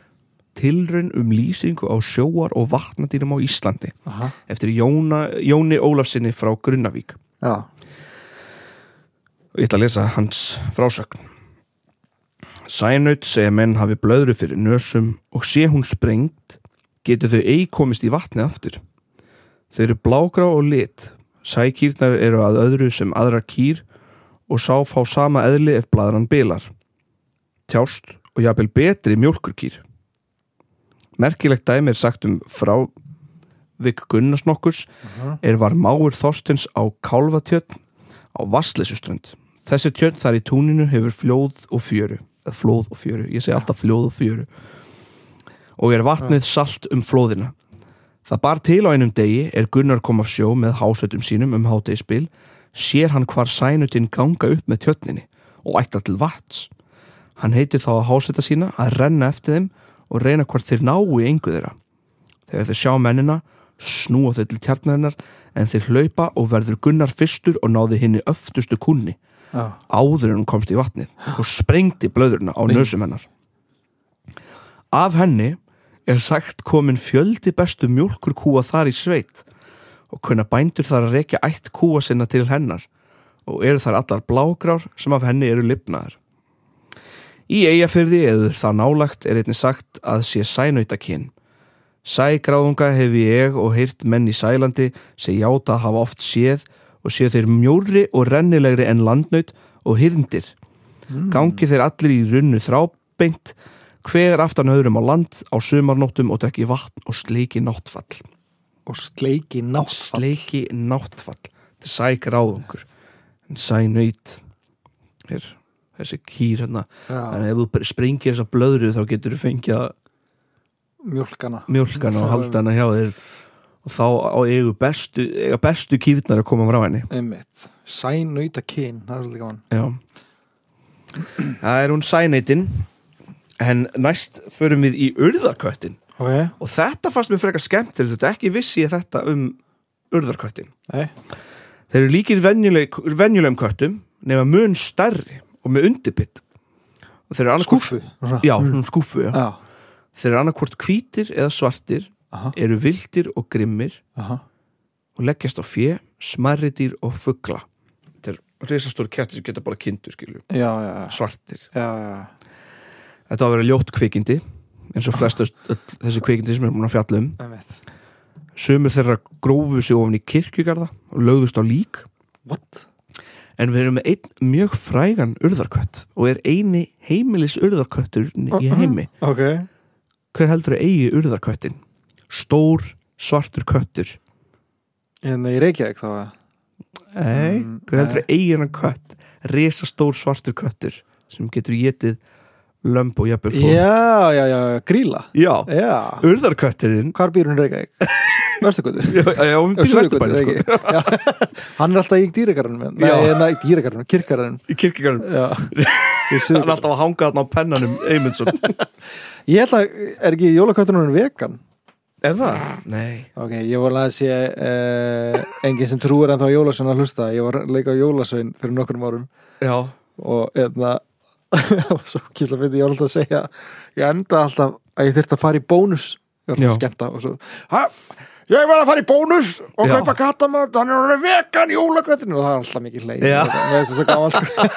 S3: tilraun um lýsingu á sjóar og vatnadýrum á Íslandi
S2: Aha.
S3: eftir Jóna, Jóni Ólafsinni frá Grunnavík
S2: já,
S3: og ég ætla að lesa hans frásögn Sænaut segja menn hafi blöðru fyrir nösum og sé hún sprengt getur þau eigi komist í vatni aftur þau eru blágrá og lit sækýrnar eru að öðru sem aðrar kýr og sá fá sama eðli ef bladran bilar tjást og jafnvel betri mjólkurkýr merkilegt dæmi er sagt um frá Vik Gunnarsnokkurs er var máur Þorstins á Kálfatjötn á Vassleysuströnd. Þessi tjörn þar í túninu hefur fljóð og fjöru eða flóð og fjöru, ég segi alltaf fljóð og fjöru og er vatnið salt um flóðina. Það bar til á einum degi er Gunnar kom af sjó með hásötum sínum um hátegisbil sér hann hvar sænutinn ganga upp með tjörninni og ætla til vats. Hann heitir þá að háseta sína að renna eftir þeim og reyna hvort þeir nái engu þeirra. Þegar þeir sjá mennina, snúa þeir til tjarnarinnar en þeir hlaupa og verður Gunnar fyrstur og náði hinni öftustu kunni
S2: já,
S3: áður en hún komst í vatnið og sprengdi blöðurna á nösum hennar. Af henni er sagt komin fjöldi bestu mjólkur kúa þar í sveit og kunna bændur þar að rekja ætt kúa sinna til hennar og eru þar allar blágrár sem af henni eru lifnaðar. Í eigafyrði eður það nálagt er einnig sagt að sé sænautakinn. Sægráðunga hef ég og heyrt menn í sælandi sem játa að hafa oft séð og séu þeir mjóri og rennilegri en landnaut og hyrndir. Gangi þeir allir í runnu þrábeint, hver aftan öðrum á land á sumarnóttum og drekki vatn og sleiki náttfall.
S2: og sleiki náttfall
S3: Sleiki náttfall. Þetta er sægráðungur. En Sænaut er þessi kýr hérna.
S2: já,
S3: En ef þú springir þessa blöðru þá getur þú fengið að
S2: mjölkana
S3: mjölkana og halda hana hjá þér og þá á eigu bestu, eiga bestu kýrnar að koma frá henni
S2: einmitt, sænauta kyn það er svolítið gaman
S3: Já. það er hún sæneitin en næst förum við í urðarköttin
S2: ok,
S3: og þetta fannst mér frekar skemmt þegar þetta ekki vissi ég þetta um urðarköttin
S2: nei,
S3: þeir eru líkir venjuleg, venjulegum köttum nema mun stærri og með undirbytt og þeir eru annarkvort
S2: skúfu
S3: já, mm. skúfu, já.
S2: já,
S3: þeir eru annarkvort hvítir eða svartir
S2: Aha.
S3: eru vildir og grimmir
S2: aha
S3: og leggjast á fjö, smarridýr og fuggla þetta er risastóru kettir sem geta bara kindur skilju
S2: já, já,
S3: svartir
S2: já, já.
S3: þetta á að vera ljótt kvikindi eins og flest öll- öll þessi kvikindi sem við erum búin að fjalla um
S2: Einmitt.
S3: sömur þeirra grófu sig ofan í kirkjugarða og lögðust á lík
S2: What?
S3: en við erum með einn mjög frægan urðarkött og er eini heimilis urðarköttur í heimi
S2: Ok,
S3: hver heldur að eigi urðarköttin stór svartur köttur
S2: hérna í Reykjavík þá að
S3: Nei,
S2: Mm,
S3: hver heldur að eigi hennar kött risastór svartur köttur sem getur getið lömb og jafnvel fólk
S2: Já, já, já, gríla
S3: Já,
S2: Já,
S3: urðarkötturinn
S2: hvar býr hún í Reykjavík? Vörstukvöldu
S3: Já, já, hún býr í Vesturbænum, sko.
S2: Hann er alltaf í dýragarðinum Nei,
S3: Já.
S2: nei, dýragarðinum, kirkarðinum
S3: í kirkjugarðum
S2: Já, í
S3: hann er
S2: Suðurgarðinum.
S3: alltaf að hanga þarna á pennanum Eymundsson
S2: Ég held að, er ekki jólaköttunum hún vegan?
S3: Er það? Nei
S2: Ok, ég var alveg að sé uh, enginn sem trúir en þá jólasvein að hlusta Ég var að leika á jólasvein fyrir nokkrum árum
S3: Já,
S2: og eðna og svo kísla fyndi ég var alltaf að segja ég enda alltaf að ég þyrfti að fara í bónus ég var alltaf
S3: Já.
S2: að skemmta og svo "Ha? ég var að fara í bónus og
S3: Já.
S2: kaupa kattamönd, hann er orðið vegan í jólagötinu og það er alltaf mikið leið
S3: Já.
S2: veist, svo gaman, sko.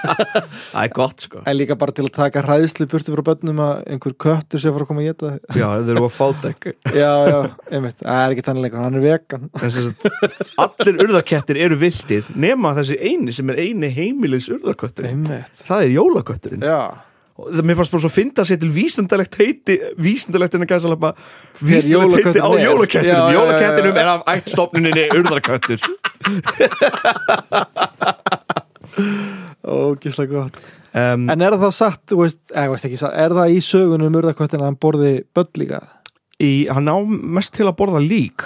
S3: það er gott sko
S2: en líka bara til að taka hræðslu burtu frá bönnum að einhver köttur sé að fara að koma að geta
S3: Já, þau eru að fáta ekki
S2: já, já, einmitt, það er ekki þannig leikur hann er vegan
S3: En sem sagt, allir urðarkettir eru viltir nema þessi eini sem er eini heimilis urðarkötturinn
S2: einmitt,
S3: það er jólakötturinn
S2: já,
S3: Og það, mér fannst bara svo að finna sér til vísindalegt heiti vísindalegt en að gæsa lappa vísindalegt heiti á
S2: jólakötturinn er.
S3: jólakettinum
S2: Já, já, já, já.
S3: jólakettinum er af ættstofnuninni urðarköttur
S2: ógísla gott
S3: um,
S2: en er það satt, þú veist, eða, þú veist ekki, satt, er það í sögunum urðakvöttin að hann borði bönn líka
S3: í, hann á mest til að borða lík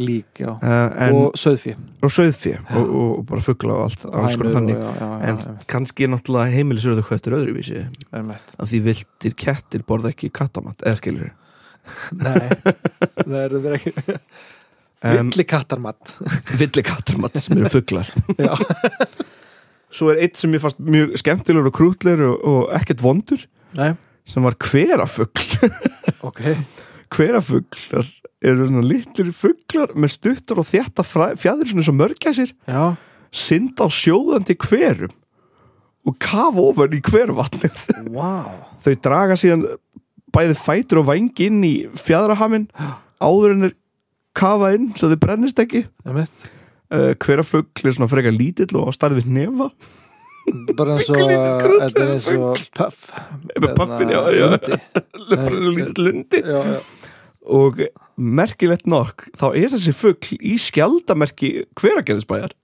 S2: lík, já
S3: uh, en, og,
S2: og sauðfí
S3: og sauðfé og, og, og bara fuggla og allt, alls konar þannig en kannski er náttúrulega heimilisröðarköttur öðruvísi
S2: einmitt
S3: að því viltir kettir borða ekki kattamatt eða skilur
S2: nei, það eru þeir ekki
S3: um,
S2: villi kattarmatt
S3: villi kattamatt sem eru fugglar
S2: Já.
S3: svo er eitt sem ég fannst mjög skemmtilegur og krútlegur og, og ekkert vondur
S2: nei,
S3: sem var hverafugl
S2: ok
S3: hverafuglar eru svona litlir fuglar með stuttar og þjætta fjæður svona svo mörgæsir
S2: já,
S3: synda á sjóðandi hverum og kafa ofan í hvervatnið
S2: wow
S3: þau draga síðan bæði fætur og vangi inn í fjæðrahamin áður en þeir kafa inn svo þau brennist ekki
S2: einmitt
S3: uh, hverafugl er svona frekar lítill og á starfið nefa
S2: bara eins og eh,
S3: Pínulítið krúttlegur
S2: þetta er eins og puff Hérna,
S3: með paffin, já, já,
S2: Lundi.
S3: bara lítill lundi
S2: já, já.
S3: og merkilegt nokk þá er þessi fugl í skjaldamerki hveragerðisbæjar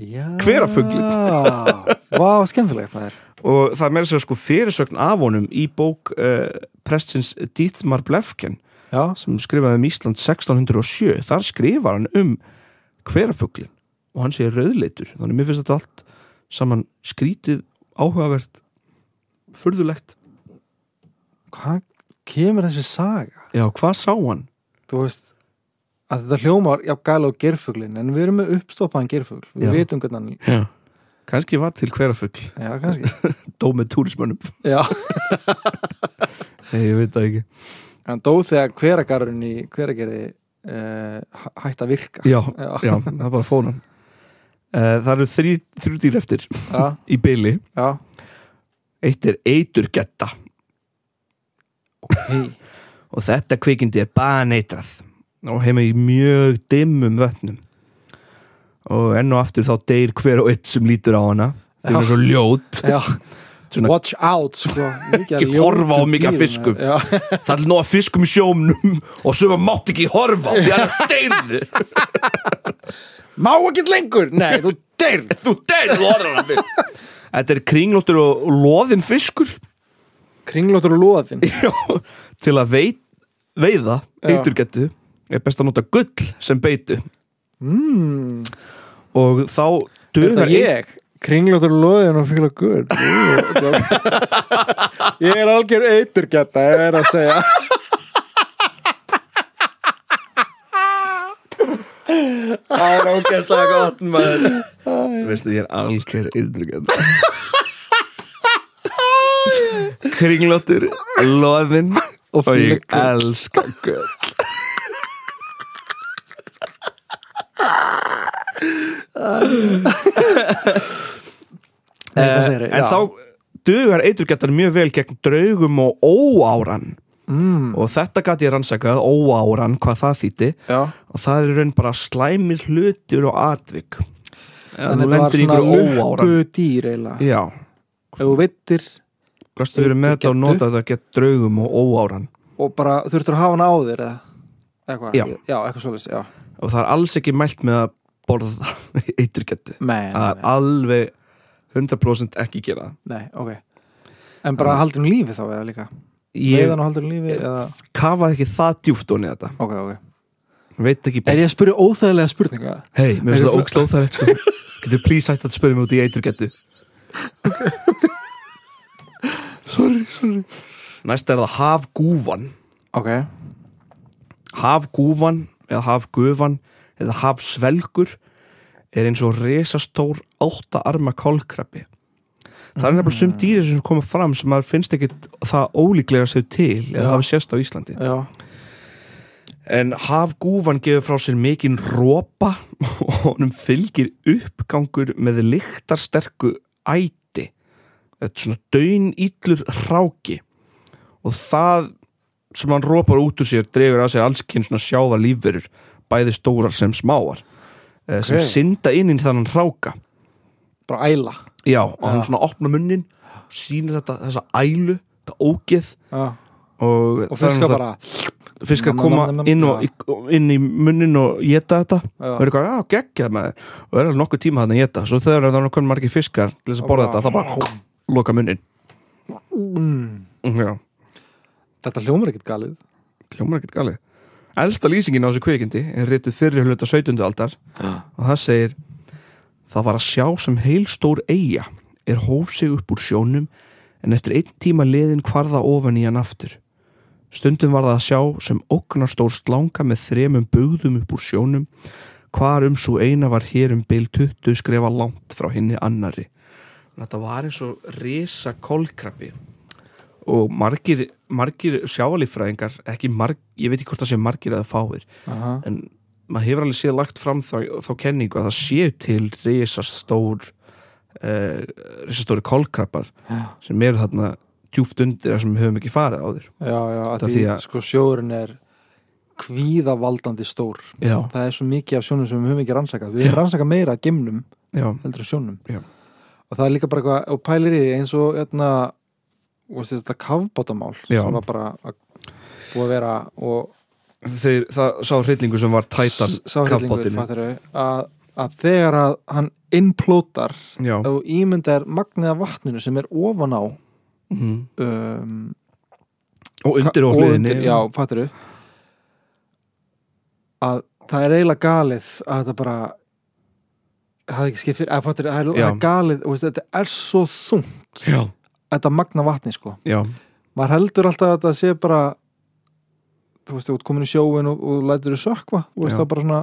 S2: já.
S3: Hverafuglinn.
S2: vá, skemmtilegt það er
S3: og það er meira sér sko fyrirsögn af honum í bók uh, prestsins Dietmar Blefken
S2: já,
S3: sem skrifaði um Ísland 1607 þar skrifar hann um hverafuglin og hann segir rauðleitur þannig mér finnst þetta allt saman skrítið áhugavert furðulegt
S2: hvað kemur þessi saga
S3: já hvað sá hann?
S2: þú veist að þetta hljómar, já, gæla á gerfuglin en við erum með uppstoppaðan gerfugl við
S3: Já.
S2: vitum hvernig hann
S3: Já. kannski var til hverafugl
S2: já, kannski
S3: dó með túrismönnum
S2: já.
S3: Nei, ég veit það ekki
S2: hann dó þegar hveragarun í hveragerði uh, hætt að virka
S3: já,
S2: já.
S3: já það er bara fónan uh, það eru þrjú, þrjú dýr eftir
S2: já,
S3: í byli
S2: já.
S3: eitt er eiturgetta
S2: Hey.
S3: og þetta kvikindi er baneitrað og heima í mjög dimmum vötnum og enn og aftur þá deyr hver og eitt sem lítur á hana þau
S2: Já.
S3: eru svo ljót
S2: já.
S3: Svona-
S2: watch out sko. Mikið af
S3: Ekki horfa á
S2: ljótum
S3: mikið af
S2: dýrum,
S3: fiskum.
S2: já.
S3: það er nóg að fiskum í sjómnum og sem að mátt ekki horfa á, því annars deyrðu
S2: má ekki lengur, nei þú deyrð
S3: þú deyrðu orðan af mig Þetta er kringlóttur og og loðinn fiskur
S2: kringlóttur og loðin
S3: Já, til að veit, veiða
S2: Já.
S3: eiturgetu er best að nota gull sem beitu
S2: mm,
S3: og þá
S2: er
S3: dugar
S2: það ég kringlóttur og loðin og fíla guð ég er algjör eitur geta, ég er að segja
S3: Það er ógæslega gott maður Veistu ég er algjör yndrugend Kringlóttur Loðinn Og ég elska gull
S2: Nei, hvað
S3: Eh,
S2: segirðu?
S3: en
S2: Já.
S3: þá dugar eiturgetar mjög vel gegn draugum og óáran
S2: mm,
S3: og þetta gæti ég rannsakað, óáran, hvað það þýtti
S2: já.
S3: og það er í raun bara slæmir hlutur og atvik ja,
S2: en
S3: þú
S2: þetta var
S3: lendir í
S2: svona
S3: ykkur óáran
S2: lukku dýr eiginlega
S3: já,
S2: ef þú veitir
S3: hverstu verið með þetta og
S2: Eiturgetu?
S3: nota þetta gegn draugum og óáran
S2: og bara þurftur að hafa hana á þér eða eitthvað,
S3: Já.
S2: já eitthvað svoleiðis já.
S3: og það er alls ekki mælt með að borða eiturgetu
S2: Nei,
S3: það
S2: nei,
S3: er alveg 100% ekki gera það.
S2: Ah, nei, ok en bara haldum lífi þá eða líka
S3: ég
S2: veiðan og haldum lífi eða
S3: kafaði ekki það djúft onni þetta
S2: ok, ok
S3: veit ekki
S2: er ég að spyrja óþægilega spurninga
S3: hei, mér finnst
S2: Er-
S3: það ógst óþægilegt sko. getur please hægt að spyrja mig út í eiturgetu
S2: sorry, sorry
S3: næst er það hafgúfan
S2: ok,
S3: hafgúfan eða hafgufan eða hafsvelgur er eins og resastór átta arma kálkrabbi það er nefnilega sum dýri sem koma fram sem maður finnst ekkit það ólíklega sér til eða
S2: Já.
S3: hafi sérst á Íslandi
S2: já
S3: En hafgúfan gefur frá sér mikinn rópa og honum fylgir uppgangur með lyktarsterku æti. Þetta er svona döin íllur hráki og það sem hann rópar út úr sér dregur að sér allskinn svona sjáva lífverur, bæði stórar sem smáar, okay. sem
S2: Ok.
S3: synda inn í þannan hráka.
S2: bara æla
S3: Já, og hann svona opna munnin, sýnir þetta þessa ælu, þetta ógeð
S2: já.
S3: og,
S2: og
S3: það er
S2: fiska
S3: náttúrulega-
S2: bara
S3: fiskar
S2: Nam, nam,
S3: koma
S2: nam, nam,
S3: inn, og,
S2: já.
S3: í- inn í munnin og geta þetta
S2: Já.
S3: og er eitthvað, já, geggjað með þeir og er alveg nokkuð tíma þannig að geta svo þegar það er nokkuð margir fiskar til þess að borða þetta, það bara loka munnin
S2: Mm.
S3: já,
S2: þetta hljómar ekkert galið
S3: hljómar ekkert galið elsta lýsingin á þessu kvikindi er rituð fyrir hluta 17. aldar og það segir það var að sjá sem heilstór eiga er hóf sig upp úr sjónum en eftir einn tíma liðin hvarða ofan í hann aftur stundum var það að sjá sem ógnarstór slanga með þremum bugðum upp úr sjónum hvar um svo eina var hér um bil 20 skrefa langt frá henni annari þetta var eins og risa kolkrabi og margir, margir sjávalífræðingar ekki marg, ég veit ekki hvort það sé margir eða fáir
S2: Aha.
S3: en maður hefur alveg séð lagt fram þá, þá kenningu að það séu til risastór uh, risastóri kolkrabbar
S2: Já.
S3: sem eru þarna djúft undir þar sem við höfum ekki farið á þér
S2: já, já, að
S3: Það
S2: því,
S3: því að-
S2: sko sjórin er kvíðavaldandi stór
S3: já,
S2: það er svo mikið af sjónum sem við höfum ekki rannsakað við höfum rannsakað meira að gemnum
S3: já,
S2: heldur að sjónum
S3: Já.
S2: og það er líka bara eitthvað og pælir í því eins og etna, og þetta kafbátamál
S3: Já.
S2: sem var bara að, búið að vera og
S3: þeir, það sá hryllingu sem var tætan
S2: sáhrillingur
S3: kafbátinu
S2: að, að þegar að hann innplótar
S3: já,
S2: og ímyndar magnið af vatninu sem er ofan á
S3: mm.
S2: um,
S3: og undir og
S2: og
S3: hliðinni
S2: undir- já, fattir að það er eiginlega galið að þetta bara það er ekki skipt fyrir, að fattir það er-
S3: Já.
S2: það er galið, og veist, þetta er svo þungt
S3: já,
S2: þetta magna vatni sko
S3: já,
S2: maður heldur alltaf að það sé bara þú veist, þú ert komin í sjóin og, og lætur þau sökva þú veist,
S3: Já.
S2: það er bara svona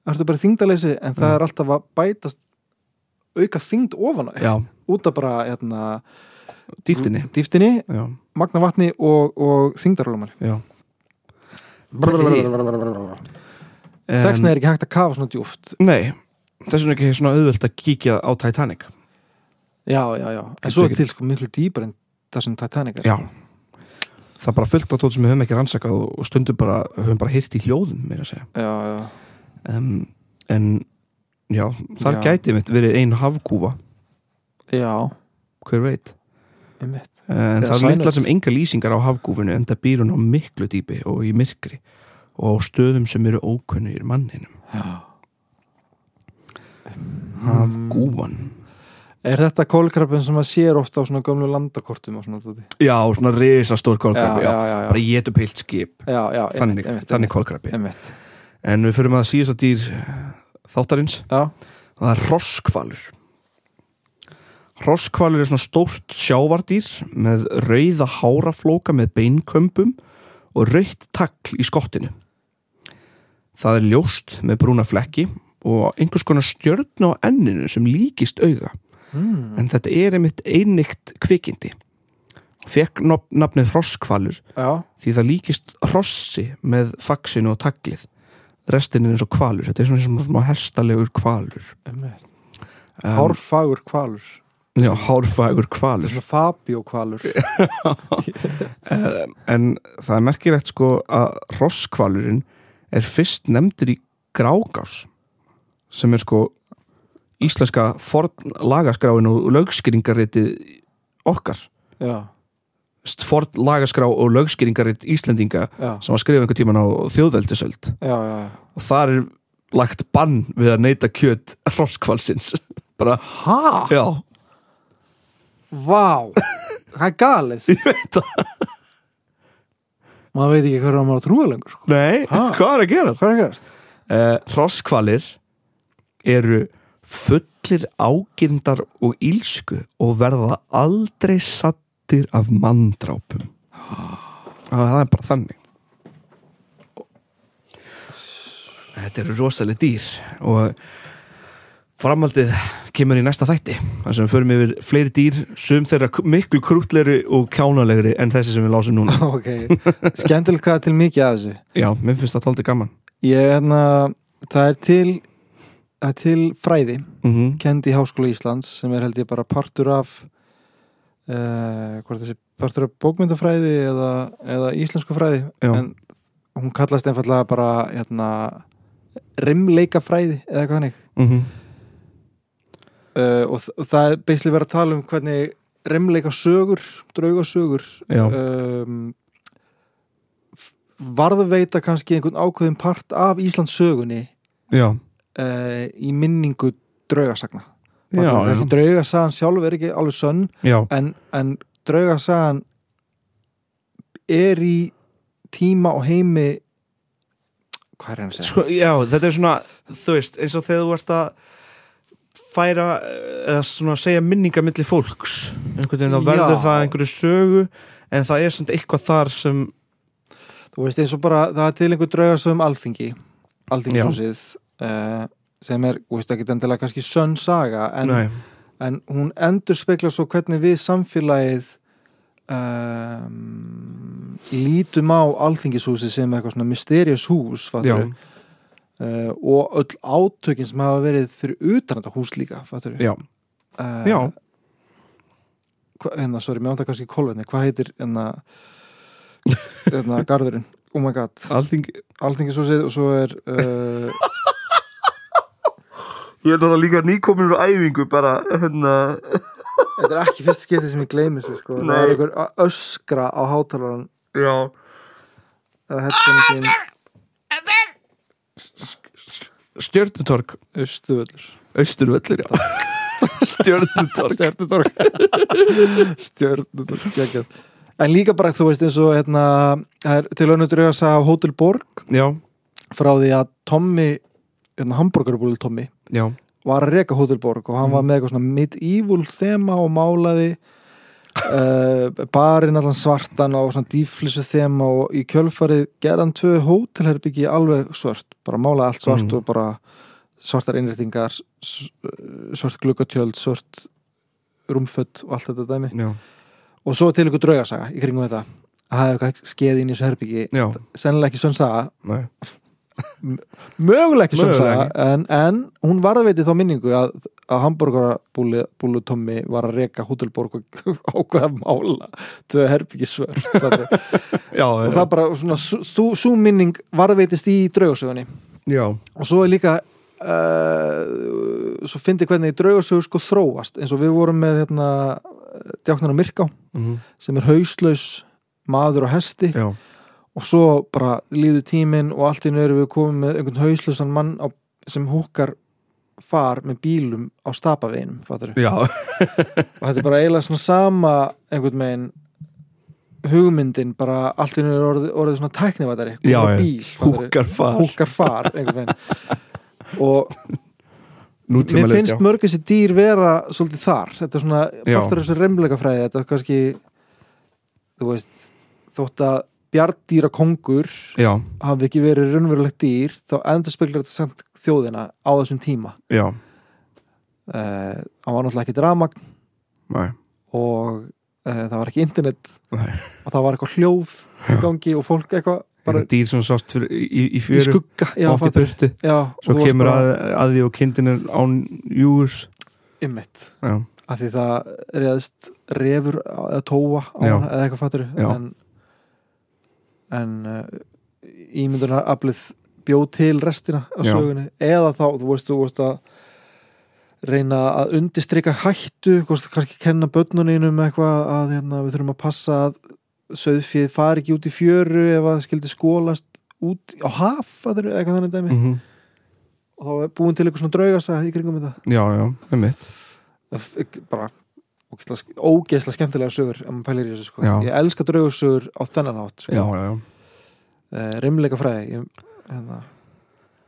S2: það ertu bara þingdaleysi en það
S3: Mm.
S2: er alltaf að bætast auka þingd ofan á þig.
S3: já.
S2: út af bara hérna,
S3: dýftinni
S2: dýftinni,
S3: já,
S2: magna vatni og, og þingdarólumar
S3: já
S2: þekstin
S3: En-
S2: er ekki hægt að kafa svona djúft
S3: nei, þess vegna er ekki svona auðvelt að kíkja á Titanic
S2: já, já, já, en
S3: Getur
S2: svo er
S3: ekki-
S2: til sko miklu dýpar en það sem Titanic er
S3: Já Það er bara fullt á tótt sem við höfum ekki rannsakað og- og stundum bara, höfum bara hýrt í hljóðum meira að segja
S2: já, já,
S3: um, En já, þar
S2: Já.
S3: gæti mitt verið ein hafkúfa
S2: já,
S3: Hver veit Eh,
S2: einmitt
S3: En
S2: Eða
S3: það er
S2: svænut.
S3: litla sem enga lýsingar á hafkúfinu en það býr hún á miklu dýpi og í myrkri og á stöðum sem eru ókunnir manninum
S2: Hmm.
S3: Hafkúfan
S2: er þetta kólkrabin sem maður sér ofta á svona gömlu landakortum og svona tóti
S3: Já, svona risastór kolkrabi já,
S2: já, já, já.
S3: Bara getur pilt skip
S2: já, já, einmitt,
S3: Þannig,
S2: einmitt,
S3: þannig kolkrabi
S2: einmitt.
S3: En við förum að síðasta dýr þáttarins
S2: Já,
S3: og það er roskvalur Roskvalur er svona stórt sjávardýr með rauða háraflóka með beinkömbum og rautt takl í skottinu Það er ljóst með brúna flekki og einhvers konar stjörnu á enninu sem líkist auga
S2: mm,
S3: en þetta er einmitt einnikt kvikindi fekk nafn- nafnið roskvalur
S2: já,
S3: því það líkist hrossi með faksinu og taglið restin er eins og kvalur þetta er svona eins og smá hestalegur kvalur
S2: einmitt
S3: Um,
S2: Hárfagur kvalur
S3: Já, hárfægur kvalur
S2: svona Fabio kvalur
S3: En það er merkilegt sko að rosskvalurinn er fyrst nefndur í grágás sem er sko íslenska forn lagaskráin og lögskýringarritið okkar
S2: já,
S3: St- forn lagaskrá og lögskýringarrit Íslendinga
S2: já,
S3: sem var skrifað einhver tíman á þjóðveldisöld
S2: já, já.
S3: og þar er lagt bann við að neyta kjöt rosskvalsins bara,
S2: ha?
S3: já,
S2: Vá, það er galið
S3: ég veit það
S2: maður veit ekki hverju maður á að trúa lengur sko.
S3: Nei,
S2: Ha?
S3: hvað er að gera?
S2: hvað er að gerast?
S3: uh, Hrosskvalir eru fullir ágindar og ílsku og verða aldrei sattir af manndrápum ah, Það er bara þannig Þetta eru rosalega dýr og framhaldið kemur í næsta þætti þar sem við förum yfir fleiri dýr sum þeirra k- miklu krútlegri og kjánalegri en þessi sem við lásum núna
S2: ok, skemmtilegt hvað er til mikið af þessu
S3: Já, mér finnst það tóldi gaman
S2: ég er að það er til það er til fræði
S3: mm
S2: kend í Háskóla Íslands sem er held ég bara partur af uh, hvað er þessi partur af bókmyndafræði eða, eða íslensku fræði
S3: Já.
S2: en hún kallast einfallega bara hérna, rimleikafræði eða hvað hannig
S3: mm
S2: uh, og, þ- og það er beislega verið að tala um hvernig remleika sögur, draugasögur
S3: Já.
S2: um, f- varðveita kannski einhvern ákveðin part af Íslands sögunni
S3: Já,
S2: uh, í minningu draugasagna
S3: já, já.
S2: þessi draugasagan sjálf er ekki alveg sönn
S3: já.
S2: en, en draugasagan er í tíma og heimi hvað er hann að segja?
S3: Sko, já, þetta er svona, þú veist, eins og þegar þú ert að færa eða svona segja minninga milli fólks einhvern veginn þá verður
S2: Já.
S3: það einhverju sögu en það er svona eitthvað þar sem
S2: þú veist eins og bara það er til einhver draugasögum alþingi alþingshúsið uh, sem er, þú veist ekki endilega kannski sönn saga en,
S3: nei,
S2: en hún endur spekla svo hvernig við samfélagið um, lítum á alþingishúsið sem eitthvað svona mysterious hús
S3: já,
S2: fattur, uh, og öll átökin sem hafa verið fyrir utan þetta hús líka fattur,
S3: já,
S2: uh,
S3: eh, já
S2: hva, hérna, sorry, mér ánda kannski kolvetni hvað heitir hérna, hérna garðurinn, oh my god
S3: alþing
S2: Alþingishúsið og svo er uh,
S3: Ég er það líka nýkomin úr æfingu bara hérna
S2: Þetta er ekki fyrst skipti sem ég gleymi þessu sko Það er
S3: Nei.
S2: einhver að öskra á hátalaran
S3: já,
S2: eða headphone sín
S3: stjörnutorg
S2: Östuvöllur
S3: austurvöllur, já stjörnutorg
S2: Stjörnutorg Stjörnutorg, geggjað En líka bara þú veist eins og hérna það er til önnur að sagði Hotel Borg
S3: já,
S2: frá því að Tommy hérna hambúrgarbúl Tommy
S3: já,
S2: var að reka Hotel Borg og hann var með eitthvað svona medieval þema og málaði uh, barinn allan svartan og svona dýflissu þema og í kjölfarið gerðan tvö hótelherbyggi alveg svört, bara málaði allt svart
S3: Mhm.
S2: og bara svartar innréttingar s- eh, svört gluggatjöld, svört rúmfött og allt þetta dæmi
S3: já,
S2: og svo til ykkur draugasaga í kringum þetta að hafa eitthvað skeið inn í þessu herbyggi
S3: já
S2: sennilega ekki svönn saga,
S3: nei,
S2: mögulega ekki svona
S3: Mögulega
S2: saga en, en hún varðveiti þá minningu að, að hambúrgarabúlu Tommi var að reka Hútelborg og ákveða mála tvö herbyggi svör og
S3: já,
S2: það bara svona svo, svo minning varðveitist í draugasögunni
S3: já,
S2: og svo er líka uh, svo fyndi hvernig draugasögur sko þróast eins og við vorum með hérna djáknar á Myrká
S3: mhm,
S2: sem er hauslaus maður á hesti
S3: já,
S2: og svo bara líður tíminn og allt í nöðru við komum með einhvern hauslösan mann á, sem húkar far með bílum á stapaveginum fattarðu?
S3: já,
S2: og þetta er bara eiginlega svona sama einhvern veginn hugmyndin bara allt í nöðru orðið, orðið svona tæknivættari
S3: Já, já.
S2: bíl, fattarðu?
S3: húkar far
S2: húkar far einhvern veginn og
S3: Nútímalegt,
S2: mér
S3: já.
S2: finnst mörg þessi dýr vera svolítið þar, þetta er svona
S3: Já.
S2: partur af þessu remleika fræði, þetta er kannski þú veist þótt að bjardýra kongur
S3: já,
S2: hafi ekki verið raunverulegt dýr þá endur speklar þetta samt þjóðina á þessum tíma
S3: já,
S2: uh, hann var náttúrulega ekki dramagn
S3: nei,
S2: og uh, það var ekki internet
S3: nei
S2: og það var eitthvað hljóð í gangi og fólk eitthvað bara
S3: bara dýr sem sást fyrir, í, í
S2: í
S3: fjöru
S2: skugga já,
S3: átti
S2: fattar.
S3: burtu
S2: já,
S3: svo kemur að, að því og kindin er án júurs
S2: ymmit,
S3: já,
S2: að því það reyðist refur á- eða tóa á
S3: Já.
S2: hana eða eitthvað fattur
S3: Já.
S2: en, en uh, ímyndunar aflið bjó til restina af
S3: Já.
S2: sögunni eða þá, þú veist, þú veist að reyna að undistrika hættu, þú veist, kannski kenna börnuninu með eitthvað að hérna, við þurfum að passa að söðfið fari ekki út í fjöru ef að það skildi skólast út á haf, fattur, eitthvað þannig dæmi
S3: -hmm.
S2: og þá er búin til eitthvað svona draugasa í kringum þetta
S3: Já, já, sko. með mitt
S2: Það f- ekki- bara ógeðslega sk- ógeðslega skemmtilega sögur ef maður pælir í þessu sko.
S3: Já.
S2: ég elska draugursögur á þennan átt
S3: já,
S2: sko.
S3: já, já.
S2: uh, rimleika fræði ég, hérna,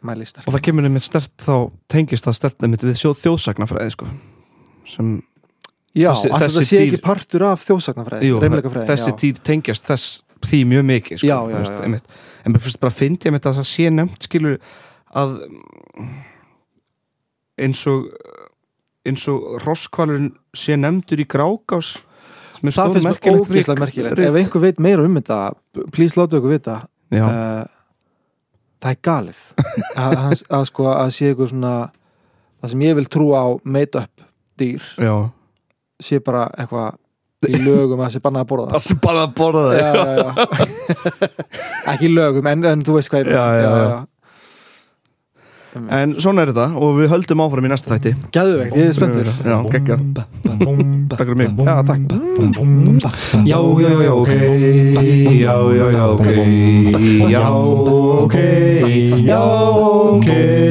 S2: mæli sterk
S3: Og það kemur einmitt stert þá tengist það stert einmitt við sjóð þjóðsagnafræði sko. sem,
S2: já,
S3: þessi-
S2: þessi,
S3: þessi
S2: þetta sé
S3: dýr-
S2: ekki partur af þjóðsagnafræði
S3: jú,
S2: rimleika fræði
S3: þessi dýr tengjast þess því mjög mikið sko,
S2: Já, já,
S3: þú veist,
S2: já, já.
S3: einmitt. En bara fyrst bara fyndi einmitt að það sé nefnt skilur að mm, eins og eins og rosskvalurinn sé nefndur í grákás sem er
S2: það finnst mér
S3: stórmerkilegt
S2: ógeðslega
S3: rit-
S2: merkilegt
S3: rit.
S2: ef einhver veit meira um þetta please láta okkur vita
S3: Já,
S2: uh, það er galið að, að, að sko að sé eitthvað svona það sem ég vil trúa á made up dýr
S3: já
S2: sé bara eitthvað í lögum að sé bannað að borða það
S3: sem bara að borða það
S2: já, já, já. ekki í lögum en, en þú veist hvað ég
S3: Já, já, já. En svona er þetta og við höldum áfram í næsta þætti
S2: Gæðuvegt, ég er spenntur
S3: Já, geggja Takk fyrir mig Já, takk
S1: Já, já, já, ok, já, já, já, ok, já, ok, já, ok,